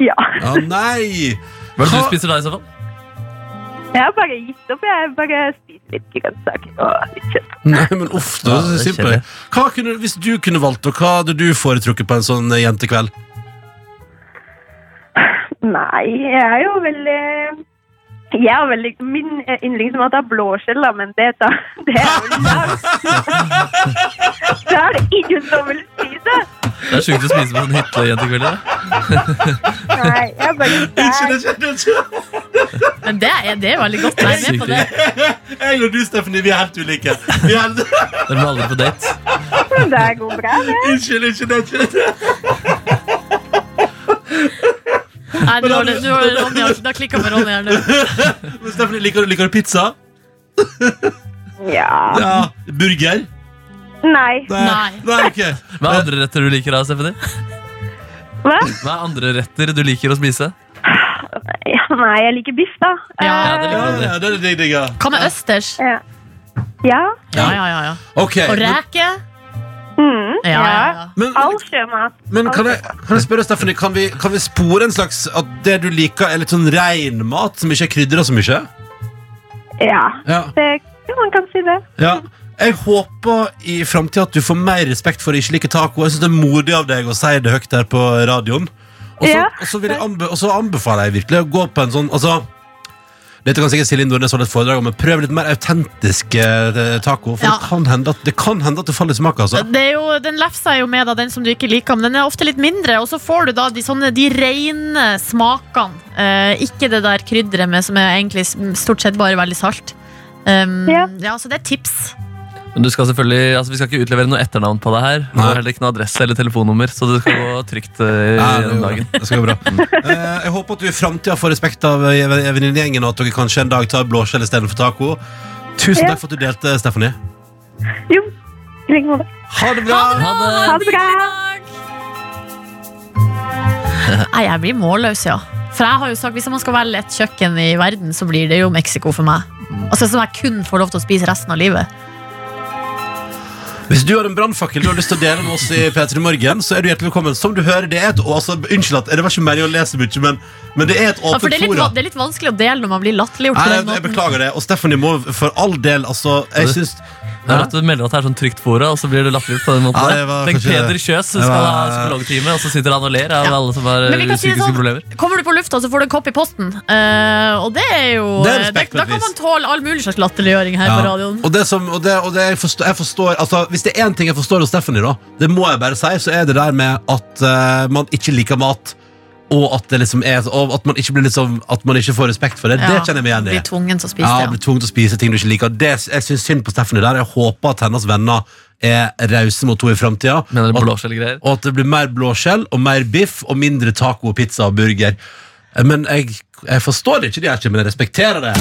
Ja.
Ja, nei!
Hva er det
Hva-
du spiser da, i så fall?
Jeg har bare gitt opp. Jeg bare spiser litt grønnsaker og litt kjøtt.
Nei, men uff, da,
Ja,
så
det er
simpel. Hva kunne, Hvis du kunne valgt, og hva hadde du foretrukket på en sånn eh, jentekveld?
Nei, jeg er jo veldig jeg er veldig, Min eh, yndlingsmat er blåskjell, da, men det, da, (laughs) det er vel Det er det ingen som vil spise.
Det er sjukt å spise på en hytte jentekveld. da.
Nei, jeg
(laughs)
bare
Ikke,
der.
det, ikke, ikke.
Men det er, det er veldig godt. Jeg er med på det.
(laughs)
Sykt.
Jeg og du, Stephanie, vi er helt ulike. Vi er helt...
(laughs) Dere må aldri på date.
Men det går bra, det.
Unnskyld, unnskyld, unnskyld.
Nei, du har, det- du har, Ronny, har- da klikka med Ronny her nå.
Men Stephanie, liker, du- liker du pizza?
Ja.
Ja. Burger?
Nei.
Nei.
Nei, ok.
Hva er andre retter du liker da, Stephanie?
Hva?
Hva er andre retter du liker å spise?
Ja, nei, jeg liker biff, da.
Ja.
Eh,
Ja, det
Ja,
liker
ja,
andre.
ja, det er det digg, digg, ja.
Hva med østers?
ja. Ja.
Ja, ja, ja, ja.
Ok,
Og
men,
reke.
Mm,
Ja, ja, ja.
men,
All sjømat.
men kan, jeg, kan jeg spørre, Stephanie, kan vi, kan vi spore en slags At det du liker er litt sånn rein mat som ikke er krydret så mye?
Ja.
Ja,
Det, jo, man kan si det.
ja. Jeg håper i fremtiden at du får mer respekt for å ikke like taco Jeg synes det er modig av deg å si det høyt her på radioen Og så,
Ja.
og så, vil jeg anbe og så anbefaler jeg virkelig å gå på en sånn Altså dette kan sikkert Silje Nordnes holde et foredrag om Men prøv litt mer autentisk eh, taco For
Ja.
det, kan hende at, det kan hende at det faller i smak altså.
Det er jo, den lefsa er jo med, da, den som du ikke liker, men den er ofte litt mindre. Og så får du da de, sånne, de rene smakene. Eh, ikke det der krydderet med som er egentlig s- stort sett bare veldig salt. Um, ja.
Ja.
så det er tips.
Men du skal selvfølgelig, altså Vi skal ikke utlevere noe etternavn på det her.
Nei.
Og heller ikke noe adresse eller telefonnummer, så det skal gå trygt
(laughs)
eh,
Ja, det
gjennom
går
dagen.
bra. Det skal gå bra. Eh, jeg håper at du i framtida får respekt av eh, venninnegjengen, og at dere kanskje en dag tar blåskjell istedenfor taco. Tusen
Ja.
takk for at du delte, Stephanie.
Jo, i like måte.
Ha det bra!
Ha det!
Ha det bra!
Nei, jeg blir målløs, ja. For jeg har jo sagt, Hvis man skal velge et kjøkken i verden, så blir det jo Mexico for meg. Altså Som jeg kun får lov til å spise resten av livet.
Hvis du har en brannfakkel du har lyst til å dele med oss i P3 Morgen, så er du hjertelig velkommen. Som du hører, det er et og altså, Unnskyld at det var ikke meningen å lese mye, men, men det er et
Ja, for
åpent
det er, litt,
fora.
va- det er litt vanskelig å dele når man blir latterliggjort.
Nei,
på
jeg,
den
jeg
måten.
beklager det. Og Stephanie må for all del altså, Jeg syns
Det er at du melder at det er sånn trygt fora, og så blir du latterliggjort på den måten.
Ja,
der.
det var
Tenk
kanskje-
Peder Kjøs som
det
skal
var-
ha psykologtime, og så sitter han og ler av
Ja.
alle som har
Men
eh,
vi kan si det
psykiske
sånn-
problemer.
Kommer du på lufta, så får du en kopp i posten. Eh, og det er jo
Det er respekt,
Da kan
på et
man tåle all mulig slags latterliggjøring her på
Ja.
radioen.
Og det som, og det, og det jeg forstår, jeg forstår altså, Hvis det er én ting jeg forstår hos Stephanie, da, det må jeg bare si, så er det der med at eh, man ikke liker mat, og at, det liksom er, og at, man ikke blir liksom, at man ikke får respekt for det. Det
Ja,
kjenner jeg meg igjen i.
Blir tvungen til å spise
Ja,
det.
blir tvunget til å spise ting du ikke liker. Det, jeg syns synd på Stephanie der. Jeg håper at hennes venner er rause mot henne i framtida.
Mener du
Og,
blåskjellgreier?
og at det blir mer blåskjell og mer biff og mindre taco, pizza og burger. Eh, Men jeg, jeg forstår det ikke, de her, men jeg respekterer det.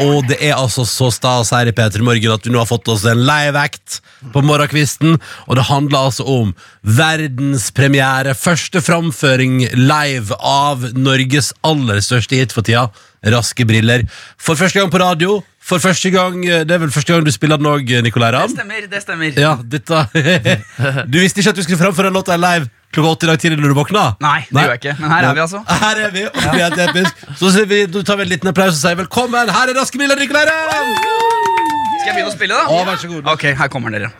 Og det er altså så stas her i P3 Morgen at vi nå har fått oss en live-act på morgenkvisten. Og det handler altså om verdenspremiere, første framføring live av Norges aller største hit for tida, Raske briller. For første gang på radio. For første gang, eh, Det er vel første gang du spiller den òg, Nicolay Ramm?
Stemmer, det stemmer.
Ja, dette (laughs) Du visste ikke at du skulle framføre en låt der live klokka åtte i dag tidlig når du våkna?
Nei, det gjør jeg ikke. Men her er vi altså.
(laughs) Her er vi, og det er helt episk. Så sier vi, da tar vi en liten applaus og sier velkommen. Her er Raske briller, Nicolay Ramm!
Skal jeg begynne å spille,
Å,
da?
vær så god.
Ok, her kommer dere.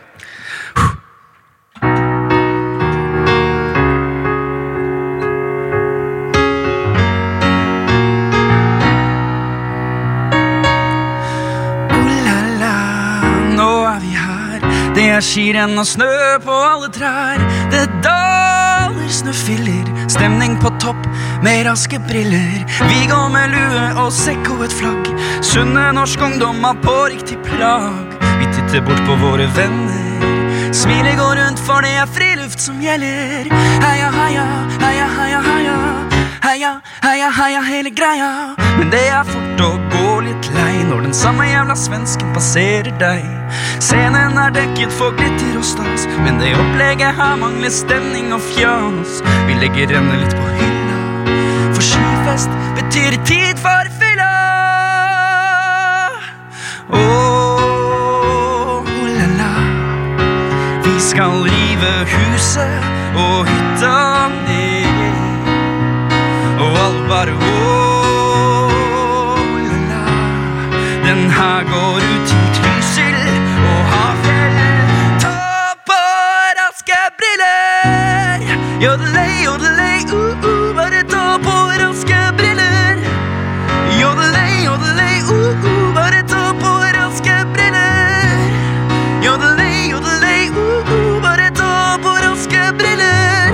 Oh la la, nå er vi her. Det er skirenn og snø på alle trær. Det daler snøfiller, stemning på topp med raske briller. Vi går med lue og sekk og et flagg. Sunne norsk ungdom har på riktig plagg. Vi titter bort på våre venner. Smilet går rundt, for det er friluft som gjelder. Heia, heia, heia, heia, heia. Heia, heia, heia, hele greia. Men det er fort å gå litt lei når den samme jævla svensken passerer deg. Scenen er dekket for glitter og stas, men det opplegget her mangler stemning og fjas. Vi legger renne litt på hylla, for skifest betyr tid for fylla. Åh, la la. Vi skal rive huset og hytta ned. Og alle bare åh-la-la. Den her går ut til Trysil og Hafjell. Ta på raske briller. Jodelei, jodelei, uh-uh. Bare ta på raske briller. Jodelei, jodelei, uh-uh. Bare ta på raske briller. Jodelei, jodelei, uh-uh, bare ta på raske briller.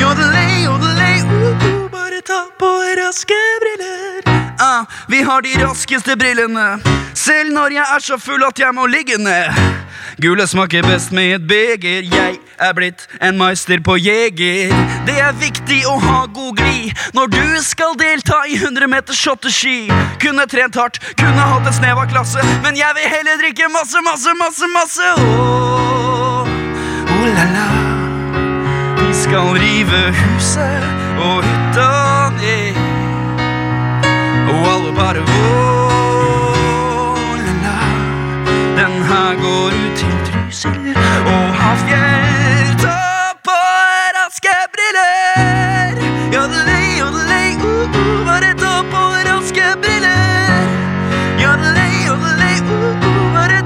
Jodelei, jodelei, uh-uh, bare ta på raske briller. Ah, vi har de raskeste brillene, selv når jeg er så full at jeg må ligge ned. Gule smaker best med et beger. Jeg er blitt en meister på jeger. Det er viktig å ha god gli når du skal delta i 100 meters shotteski. Kunne trent hardt, kunne hatt et snev av klasse, men jeg vil heller drikke masse, masse, masse, masse. Åh, oh la la. Vi skal rive huset og hytta ned. Og alle bare åh. Uh, Uh, Uh.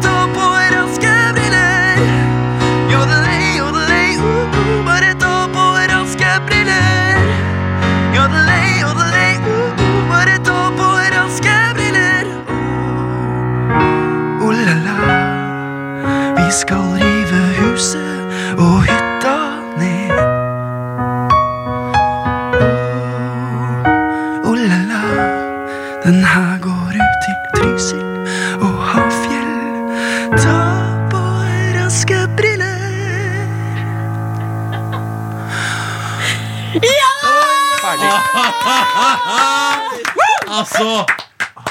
og hytta ned. Oh la la, den her går ut til Trysil og Hafjell. Ta på raske briller.
Altså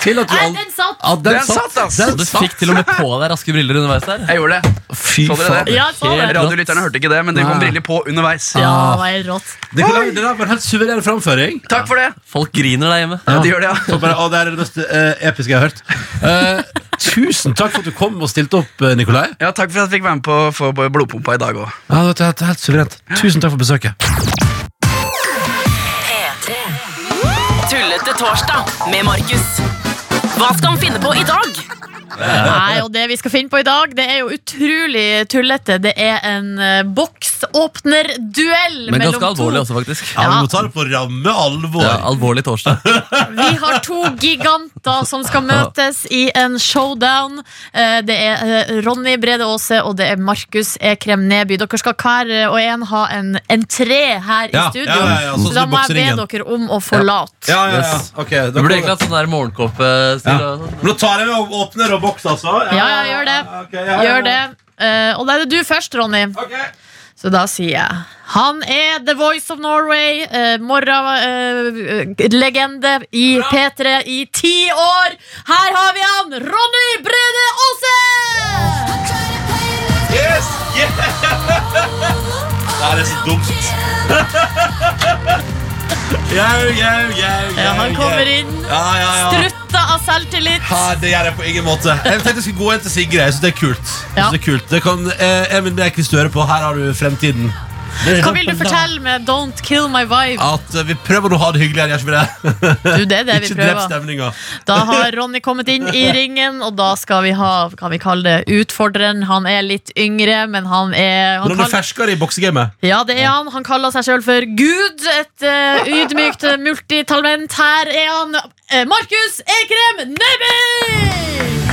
til at du
Nei,
al-
den satt!
Ja, den,
Den satt, ass.
den
Og du fikk til og med på deg raske briller underveis der.
Jeg gjorde det.
Fy
Så dere
faen.
det?
Ja, jeg så det.
Radiolytterne hørte ikke det, men det kom
Nei.
briller på underveis.
Ja, det
Ah.
var rått.
Det kan lage- det der var en helt suveren framføring.
Takk for det.
Folk griner der hjemme.
Ja, de gjør det, ja.
Så bare, å, det er det mest eh, episke jeg har hørt. Eh, tusen takk for at du kom og stilte opp, eh, Nikolai.
ja. Takk for at jeg fikk være med på for blodpumpa i dag òg.
Ja, det er helt, helt suverent. Tusen takk for besøket.
P3. Tullete torsdag med Markus. Hva skal han finne på i dag?
Nei, og det vi skal finne på i dag, det er jo utrolig tullete. Det er en eh, boksåpnerduell
Men
mellom to.
ganske
altså.
alvorlig også, faktisk.
Ja, Vi
Ja.
må ta det på ramme alvor.
Ja, alvorlig torsdag.
Vi har to giganter som skal møtes i en showdown. Eh, Det er eh, Ronny Brede Aase og det er Markus Ekrem Neby. Dere skal hver og en ha en entré her
Ja,
i studio.
ja, ja, ja, sånn
så da
som i
må jeg be
bokseringen.
dere om å forlate.
Ja, ja, ja.
Yes.
Ok, da
Du burde
kommer-
egentlig hatt sånn der
Ja.
morgenkåpestil. og sånn.
Men Nå tar jeg med og åpner og boks, altså.
Ja, ja, gjør det.
Ok, ja, ja, ja.
Gjør det. Eh, Og da er det du først, Ronny.
Ok.
Så da sier jeg Han er The Voice of Norway, eh, morgenlegende i P3 i ti år. Her har vi han, Ronny Brede Aase!
Det er så dumt. (laughs) Jau, jau, jau,
Ja, han
jau,
kommer
jau.
inn,
Ja, ja, ja.
strutta av selvtillit.
Ja, det gjør jeg på ingen måte. Jeg tenkte jeg skulle gå inn til Sigrid. Jeg synes det er kult. Jeg
Ja.
synes Det er kult. Det kan, eh, Emil Bjerk, hvis du hører på, her har du fremtiden.
Hva vil du fortelle med Don't Kill My Vibe?
At eh, vi prøver å ha det hyggelig her, gjør ikke vi det?
Du, det er det vi
(laughs) Ikke drep
prøver.
stemninga.
Da har Ronny kommet inn i ringen, og da skal vi ha kan vi kalle det utfordreren. Han er litt yngre, men han er
Men han
han kaller-
er ferskere i boksegamet.
Ja, det er han. Han kaller seg sjøl for Gud. Et eh, ydmykt eh, multitalent. Her er han eh, Markus Ekrem Neby!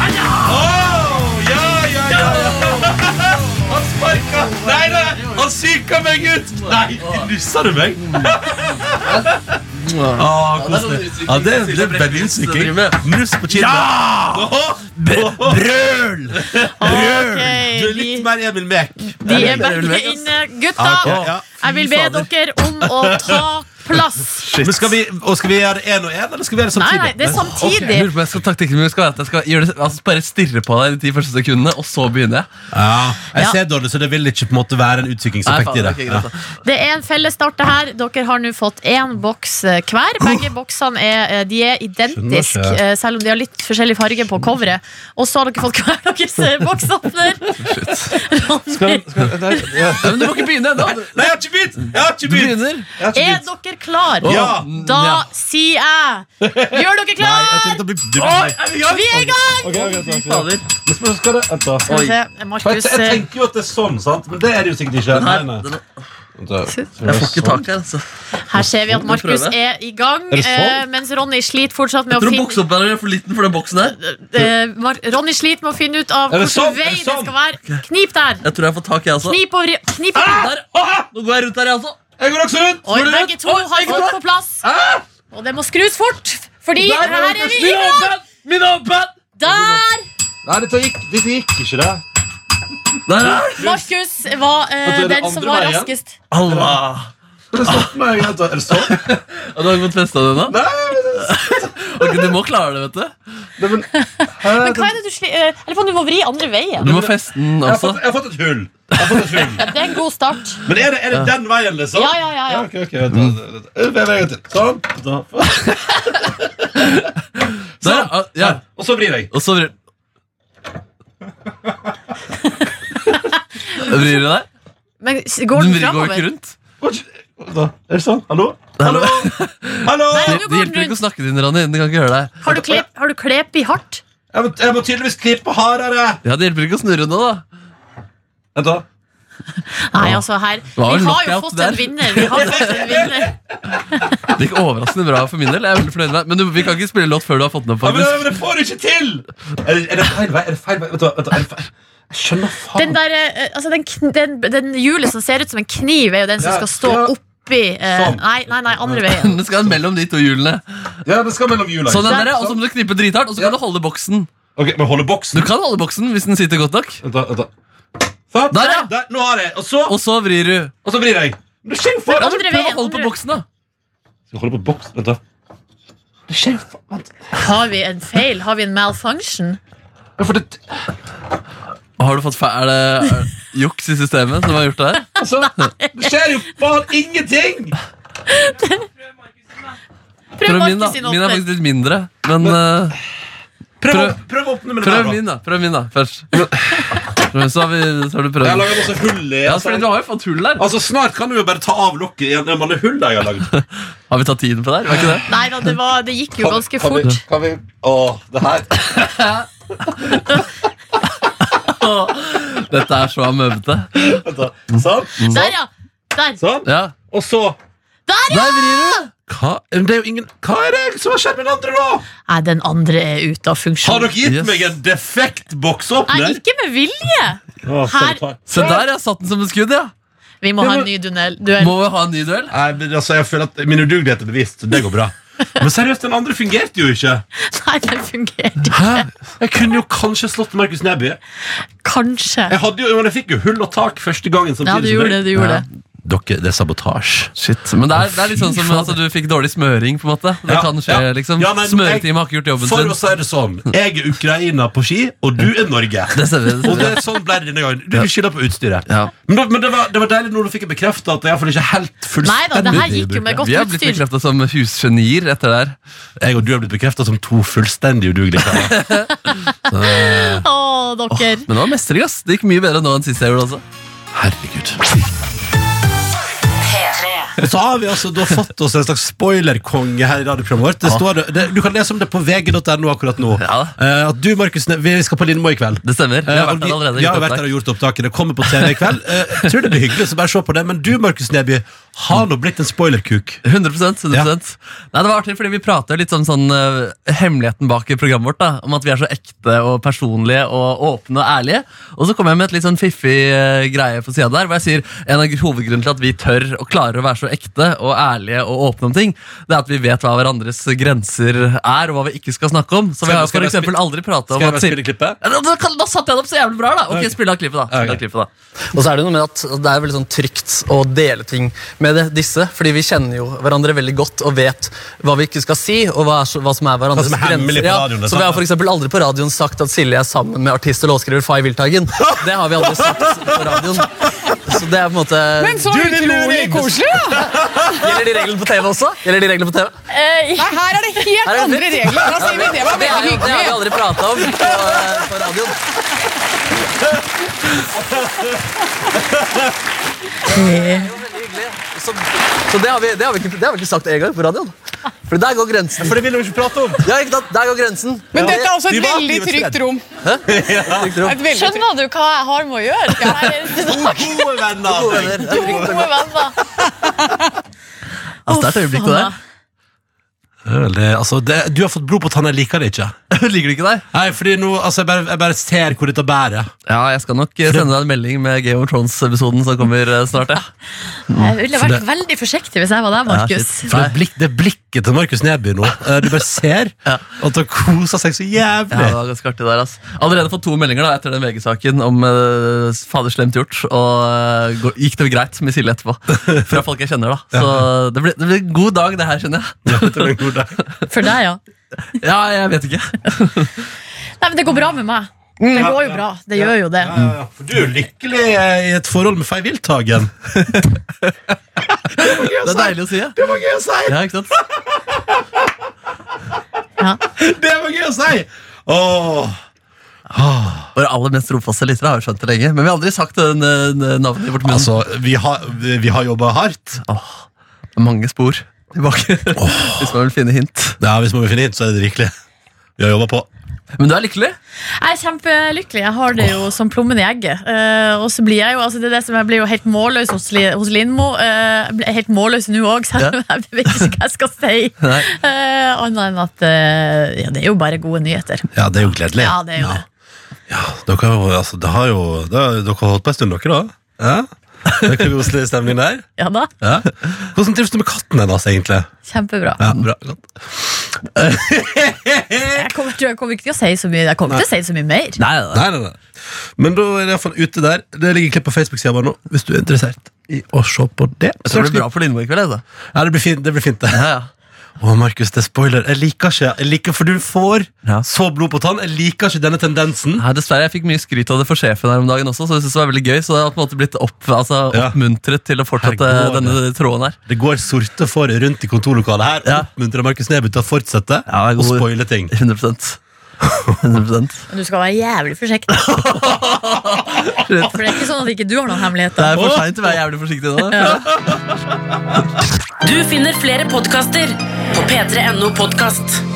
Han sparka Nei, nei, han psyka meg ut! Nei, lyssa du meg? Ah, koselig. Ja, det er, det er veldig utstykking. Nuss på kinnet. Ja! Brøl!
Ok,
Du er
de,
litt mer Emil Mek.
de er begge inne. Gutta,
Ja, ok, ja.
jeg vil be dere om å ta
(laughs)
plass.
Men skal vi, og skal vi gjøre én og én, eller skal vi gjøre det
Nei,
samtidig?
nei, det er
Jeg
samtidig.
lurer på om jeg skal taktikken min skal være at jeg skal gjøre det, altså bare stirre på deg de ti første sekundene, og så begynner jeg.
Ja, jeg
sånn. Ja.
ser dårlig, så det vil ikke på en måte være en
Nei,
utstykkingseffekt
faen,
i det.
ok,
Ja.
greit da.
Det er en fellesstart det her. Dere har nå fått én boks eh, hver. Begge boksene er, eh, de er identiske,
Skjønner ikke.
eh, selv om de har litt forskjellig farge på coveret. Og så har dere fått (laughs) hver deres eh, boksåpner. Ronny,
Nei, Men du må ikke begynne ennå!
Nei, jeg har ikke begynt! Jeg har ikke
Du
begynt!
begynner.
Jeg har ikke
er
begynt. mm,
dere klar?
Ja.
Da sier jeg Gjør dere
Nei, jeg
klar?
tenkte å bli du blir-
Vi er i gang!
Fader.
Men skal du- vent da.
Skal vi se,
For
Markus
jeg, jeg
eh,
tenker jo at det er sånn, sant? Men det er det jo sikkert ikke. Nei, nei.
den er-
Vent da.
Jeg får ikke tak i den. altså.
eh, Her ser vi at Markus
prøve.
er i gang,
det sånn?
eh, mens Ronny sliter fortsatt med å
Jeg tror
finne
bokseopplæringen er for liten for den boksen her.
eh, Mar- Ronny sliter med å finne ut av
Er det
hvilken
sånn?
vei
Er
det
det sånn?
skal være. Knip der!
Jeg tror jeg får tak i, altså.
Knip og ri-
Ah!
knip og
Der. Nå går jeg rundt her, jeg altså. også.
Jeg går også rundt!
Oi, begge to har fått på plass. Og det må skrus fort, fordi her er vi i gang!
Min åpen!
Der!
Nei, dette gikk, dette gikk ikke, det.
Der er den.
Markus var eh,
Og så er det
den som
andre
var
veien.
raskest.
Allah.
Det stopper meg. vent da. Er det
(laughs)
sånn?
Og du har ikke fått testa den ennå?
Nei, det-
(laughs) Ok, Du må klare det, vet du.
nei, men Hæ?
Men hva er det du sli... eh, Eller på om du må vri andre veien.
Du må feste
Jeg
den
har,
også.
fått, jeg har fått et hull. Jeg har fått et hull.
Det er en god start.
Men er det, er det den veien, liksom?
Ja, ja, ja, ja.
ok, ok, vent da. vent da. Vent en gang til. Sånn. Da.
Der, ah, ja.
Og så vrir jeg.
Og så vrir Vrir du deg?
Men s- går
Du
den
vrir går ikke
framover?
rundt.
Da. Er det sånn? Hallo? Hallo? Hallo?
Nei,
Det
nå
det
går den
hjelper ikke å
rundt.
snakke til den, Ronny. Den kan ikke høre deg.
Har du klep, har du klep i hardt?
Jeg må, jeg må tydeligvis klippe hardere.
Ja, Det hjelper ikke å snurre nå, da.
Vent da.
Nei, altså, her Vi
var vel
har jo
knockout
fått
der.
en vinner. Vi har fått en
(laughs)
vinner.
Det gikk overraskende bra for min del. Jeg er veldig fornøyd med deg. Men du, vi kan ikke spille låt før du har fått den opp.
Ja, men,
faktisk
men det får du ikke til! Er det, er det feil vei? Er det feil vei? Vent da, vent da. Er det feil? Jeg skjønner faen
Den, der, eh, altså den, kn- den, den hjulet som ser ut som en kniv, er jo den som
Ja,
skal stå
ja.
oppi eh,
Sånn.
Nei, nei, nei, andre veien.
Den skal mellom de to hjulene.
Ja, det skal mellom hjula.
Sånn den der,
ja.
Og så må du knippe drithardt, og så kan du holde boksen.
Ok, men holde
Du
boksen.
kan holde boksen hvis den sitter godt nok.
Vent da, vent da. Faen,
Der, ja.
Sånn. Der, nå har jeg. Og så,
Og så vrir du.
og så vrir jeg. Men det skjer
Men
faen.
andre
Prøv å
veien,
holde på
andre-
boksen, da.
Skal holde på boksen, vent da. Det skjer faen.
Har vi en feil? Har vi en malfunction?
Ja, For det,
Har du fått fe- Er det er det juks i systemet som har gjort det her?
altså, det skjer jo faen ingenting!
Prøv
Prøv min, da.
Markus sin
Min er
åpner.
faktisk litt mindre. Men eh,
Prøv, å-
Prøv-
prøv å åpne med det
prøv
der, da.
min, da. Prøv min, da, først. Men (laughs) Så har, vi, så har du
Jeg har
prøvd.
laget masse hull i.
Ja,
altså.
fordi du har jo fått hull der.
Altså, snart kan du jo bare ta av lokket igjen. Det er mange hull jeg har laget. (laughs)
Har vi tatt tiden på det her? Var ikke det?
Nei da, det, var, det gikk jo ganske
Kan vi-
fort.
Kan vi, Åh, det her. (laughs)
Dette er så amøbete.
Vent da. Sånn,
Der, ja! Der!
sånn.
Ja.
Og så...
Der, ja!
Der vrir du.
Hva, men det er jo ingen, hva er det som har skjedd med den andre, da?
Nei, den andre er ute
Har
av funksjon.
dere gitt
Yes.
meg en defekt
Nei,
boksåpner?
ikke med vilje!
Å,
her-
så tar-
Se der, ja. Satt den som et skudd, ja.
Vi må ha en ny dunnel- duell.
Må vi ha en ny duell?
Nei, men altså, jeg føler at min udugelighet er bevist, så det går bra. Men seriøst, den andre fungerte jo ikke.
(laughs) Nei, den fungerte.
Hæ? Jeg kunne jo kanskje slått Markus Neby.
Kanskje.
Jeg, hadde jo, men jeg fikk jo hull og tak første gangen.
Ja, du
samtidig som
gjorde det.
deg.
du gjorde det
Dere, det er sabotasje.
Shit, men det er, det er litt sånn som altså, du fikk dårlig smøring, på en måte. Det
Ja,
kan skje,
ja.
liksom.
Ja, men jeg-
Smøreteamet har ikke gjort jobben
For å
sin.
si det sånn, jeg er Ukraina på ski, og du er Norge.
Det ser vi.
Og det, sånn ble det denne gangen. Du skylder på utstyret.
Ja.
Men, da, men det, var, det var deilig når du fikk det bekreftet at jeg iallfall ikke er helt
Nei da, det
fullstendig
her gikk jo med godt
Vi har blitt
utstyr.
bekrefta som husgenier etter det her.
Jeg og du har blitt bekrefta som to fullstendig udugelige karer.
Å, dere.
Men det var mestring, ass. Det gikk mye bedre nå enn sist jeg gjorde. altså
Herregud. (laughs) Og så har vi altså da fått oss en slags spoilerkonge her i radioprogrammet vårt. Det står, det, du kan lese om det på vg.no akkurat nå.
Ja.
Eh, at du, Markus, Ne- vi skal på Lindmo i kveld.
Det stemmer. Vi
Eh,
har
og
vært der allerede.
Vi har
gjort
vært der
opptak.
og gjort opptaket. Det kommer på TV i kveld. Eh, Jeg tror det blir hyggelig, så bare se på det. Men du, Markus Neby, har nå blitt en spoilerkuk.
100%, 100%. Nei, Det var artig, fordi vi prater litt om sånn, eh, hemmeligheten bak i programmet vårt. da Om at vi er så ekte og personlige og åpne og ærlige. Og så kom jeg med et litt sånn fiffig eh, greie på sida der, hvor jeg sier en av hovedgrunnen til at vi tør og klarer å være så ekte og ærlige og åpne om ting, det er at vi vet hva hverandres grenser er, og hva vi ikke skal snakke om. Så
Skal
vi
jeg- skal
har for
jeg bare
eksempel aldri prata
Skal
om
jeg bare
at
spille klippet?
Ja, Da, da, kan- da satte jeg det opp så jævlig bra, da! Ok,
Ok.
spill av klippet, da. Spill av
Ok.
klippet, da. Og så er det noe med at det er veldig sånn trygt å dele ting med det, disse, fordi vi kjenner jo hverandre veldig godt og vet hva vi ikke skal si, og hva, er, så- hva som er hverandres
Hva som er hemmelig på radioen, liksom. det er
så vi har
sant,
for eksempel aldri på radioen sagt at Silje er sammen med artist og låtskriver Fay Wiltagen. Det har vi aldri sagt på radioen. Så det er på en måte Men så utrolig koselig, da! Gjelder de reglene på TV også? Gjelder de reglene på TV?
Eh,
Her er det helt
Er det
andre
litt-
regler. Da sier vi det var veldig
Det har vi- det har vi
hyggelig.
aldri prata om på, på radioen. Det er jo veldig hyggelig. Så, så det, har vi, det, har vi ikke, det har vi ikke sagt en gang på radioen. For der går grensen.
For det vil vi ikke prate om!
Ja, ikke sant? Der går grensen.
Men dette er også
Vi
et
var
veldig
livets redd.
trygt rom.
Trygt rom.
Et veldig trygt
Skjønner du hva jeg har med å gjøre? Hver eneste
(laughs)
dag.
Gode
Gode
venner!
venner. Det er trygt.
Gode venner.
Altså, det er et øyeblikk det der.
Det, altså, det, du har fått blod på tanna, jeg liker det ikke.
(laughs) Liker du ikke deg?
Nei, fordi nå, altså, jeg bare, jeg bare ser hvor dette bærer.
Ja, jeg skal nok eh, sende deg en melding med Game of Thrones-episoden som kommer eh, snart. Ja.
Jeg ville vært veldig forsiktig hvis jeg var deg, Markus.
shit.
For det, blikk, det blikket til Markus Neby nå eh, Du bare ser at han koser seg så
Ja, det
jævlig.
var ganske artig der, ass. Allerede fått to meldinger da, etter den VG-saken om uh, fader slemt gjort. Og eh, gå- gikk det greit med Silje (laughs) etterpå? Fra folk jeg kjenner, da. Så det blir, det blir en god dag, det her, skjønner jeg.
Ja, det var en god dag.
For deg, ja.
(laughs) Ja, jeg vet ikke.
Nei, men det går bra med meg. Det går jo bra. Det gjør jo det.
Ja, for du er jo lykkelig eh, i et forhold med Fay Wilthagen.
Det er deilig å si. (laughs) Ja.
Det var gøy å si!
Ja, ikke sant?
Ja.
Det var gøy å si! Åh.
Våre aller mest trofaste lyttere har jo skjønt det lenge. Men vi har aldri sagt den, eh, navnet i vårt munn.
Altså, vi har, vi vi har jobba hardt.
Mange spor tilbake. (laughs) Hvis man vil finne hint.
Ja, Hvis man vil finne hint, så er det rikelig. Vi har jobba på.
Men du er lykkelig?
Jeg er kjempelykkelig. Jeg har det jo som plommen i egget. Eh, og så blir jeg jo altså det er det som jeg blir jo helt målløs hos, Li- hos Lindmo. Eh, jeg ble helt målløs nå òg, selv om jeg vet ikke hva jeg
(laughs)
skal si.
Nei.
Eh, Annet enn at eh, ja, det er jo bare gode nyheter.
Ja, det er jo gledelig.
Ja, det er jo det.
Dere har jo, altså, det har jo det har, Dere har holdt på en stund, dere, da? Ja? Det er koselig stemning der.
Ja da,
(laughs) Ja. Hvordan trives du med katten hennes, egentlig? Mm.
kjempebra.
Ja, bra, godt.
Jeg kommer, tror jeg kommer ikke til å si så mye, jeg kommer ikke til å si så mye mer.
Nei, nei, nei.
Nei, nei, nei. Men da er det iallfall ute der. Det ligger klipp på Facebook-sida vår nå, hvis du er interessert i å se på det.
Jeg tror det blir bra på Lindmo i kveld. jeg, da.
Ja, det blir fint, det. Blir fint, det.
Ja, ja.
Å, Markus, det er spoiler. Jeg liker ikke, jeg liker, for du får
Ja.
så blod på tann. Jeg liker ikke denne tendensen.
Nei, dessverre, jeg fikk mye skryt av det for sjefen her om dagen også, så jeg synes det var veldig gøy, så jeg har på en måte blitt opp, altså,
Ja.
oppmuntret til å fortsette
Herregud.
denne tråden her.
Det går sorte for rundt i kontorlokalet her.
Ja.
Oppmuntrer Markus Neby til å fortsette
Ja,
å
god-
spoile
(laughs)
ting.
100%. 100%.
Men du skal være jævlig forsiktig. For det er ikke sånn at ikke du har noen
Det
hemmeligheter.
er for sent til å være jævlig forsiktig nå. da.
Du finner flere podkaster på p3.no podkast.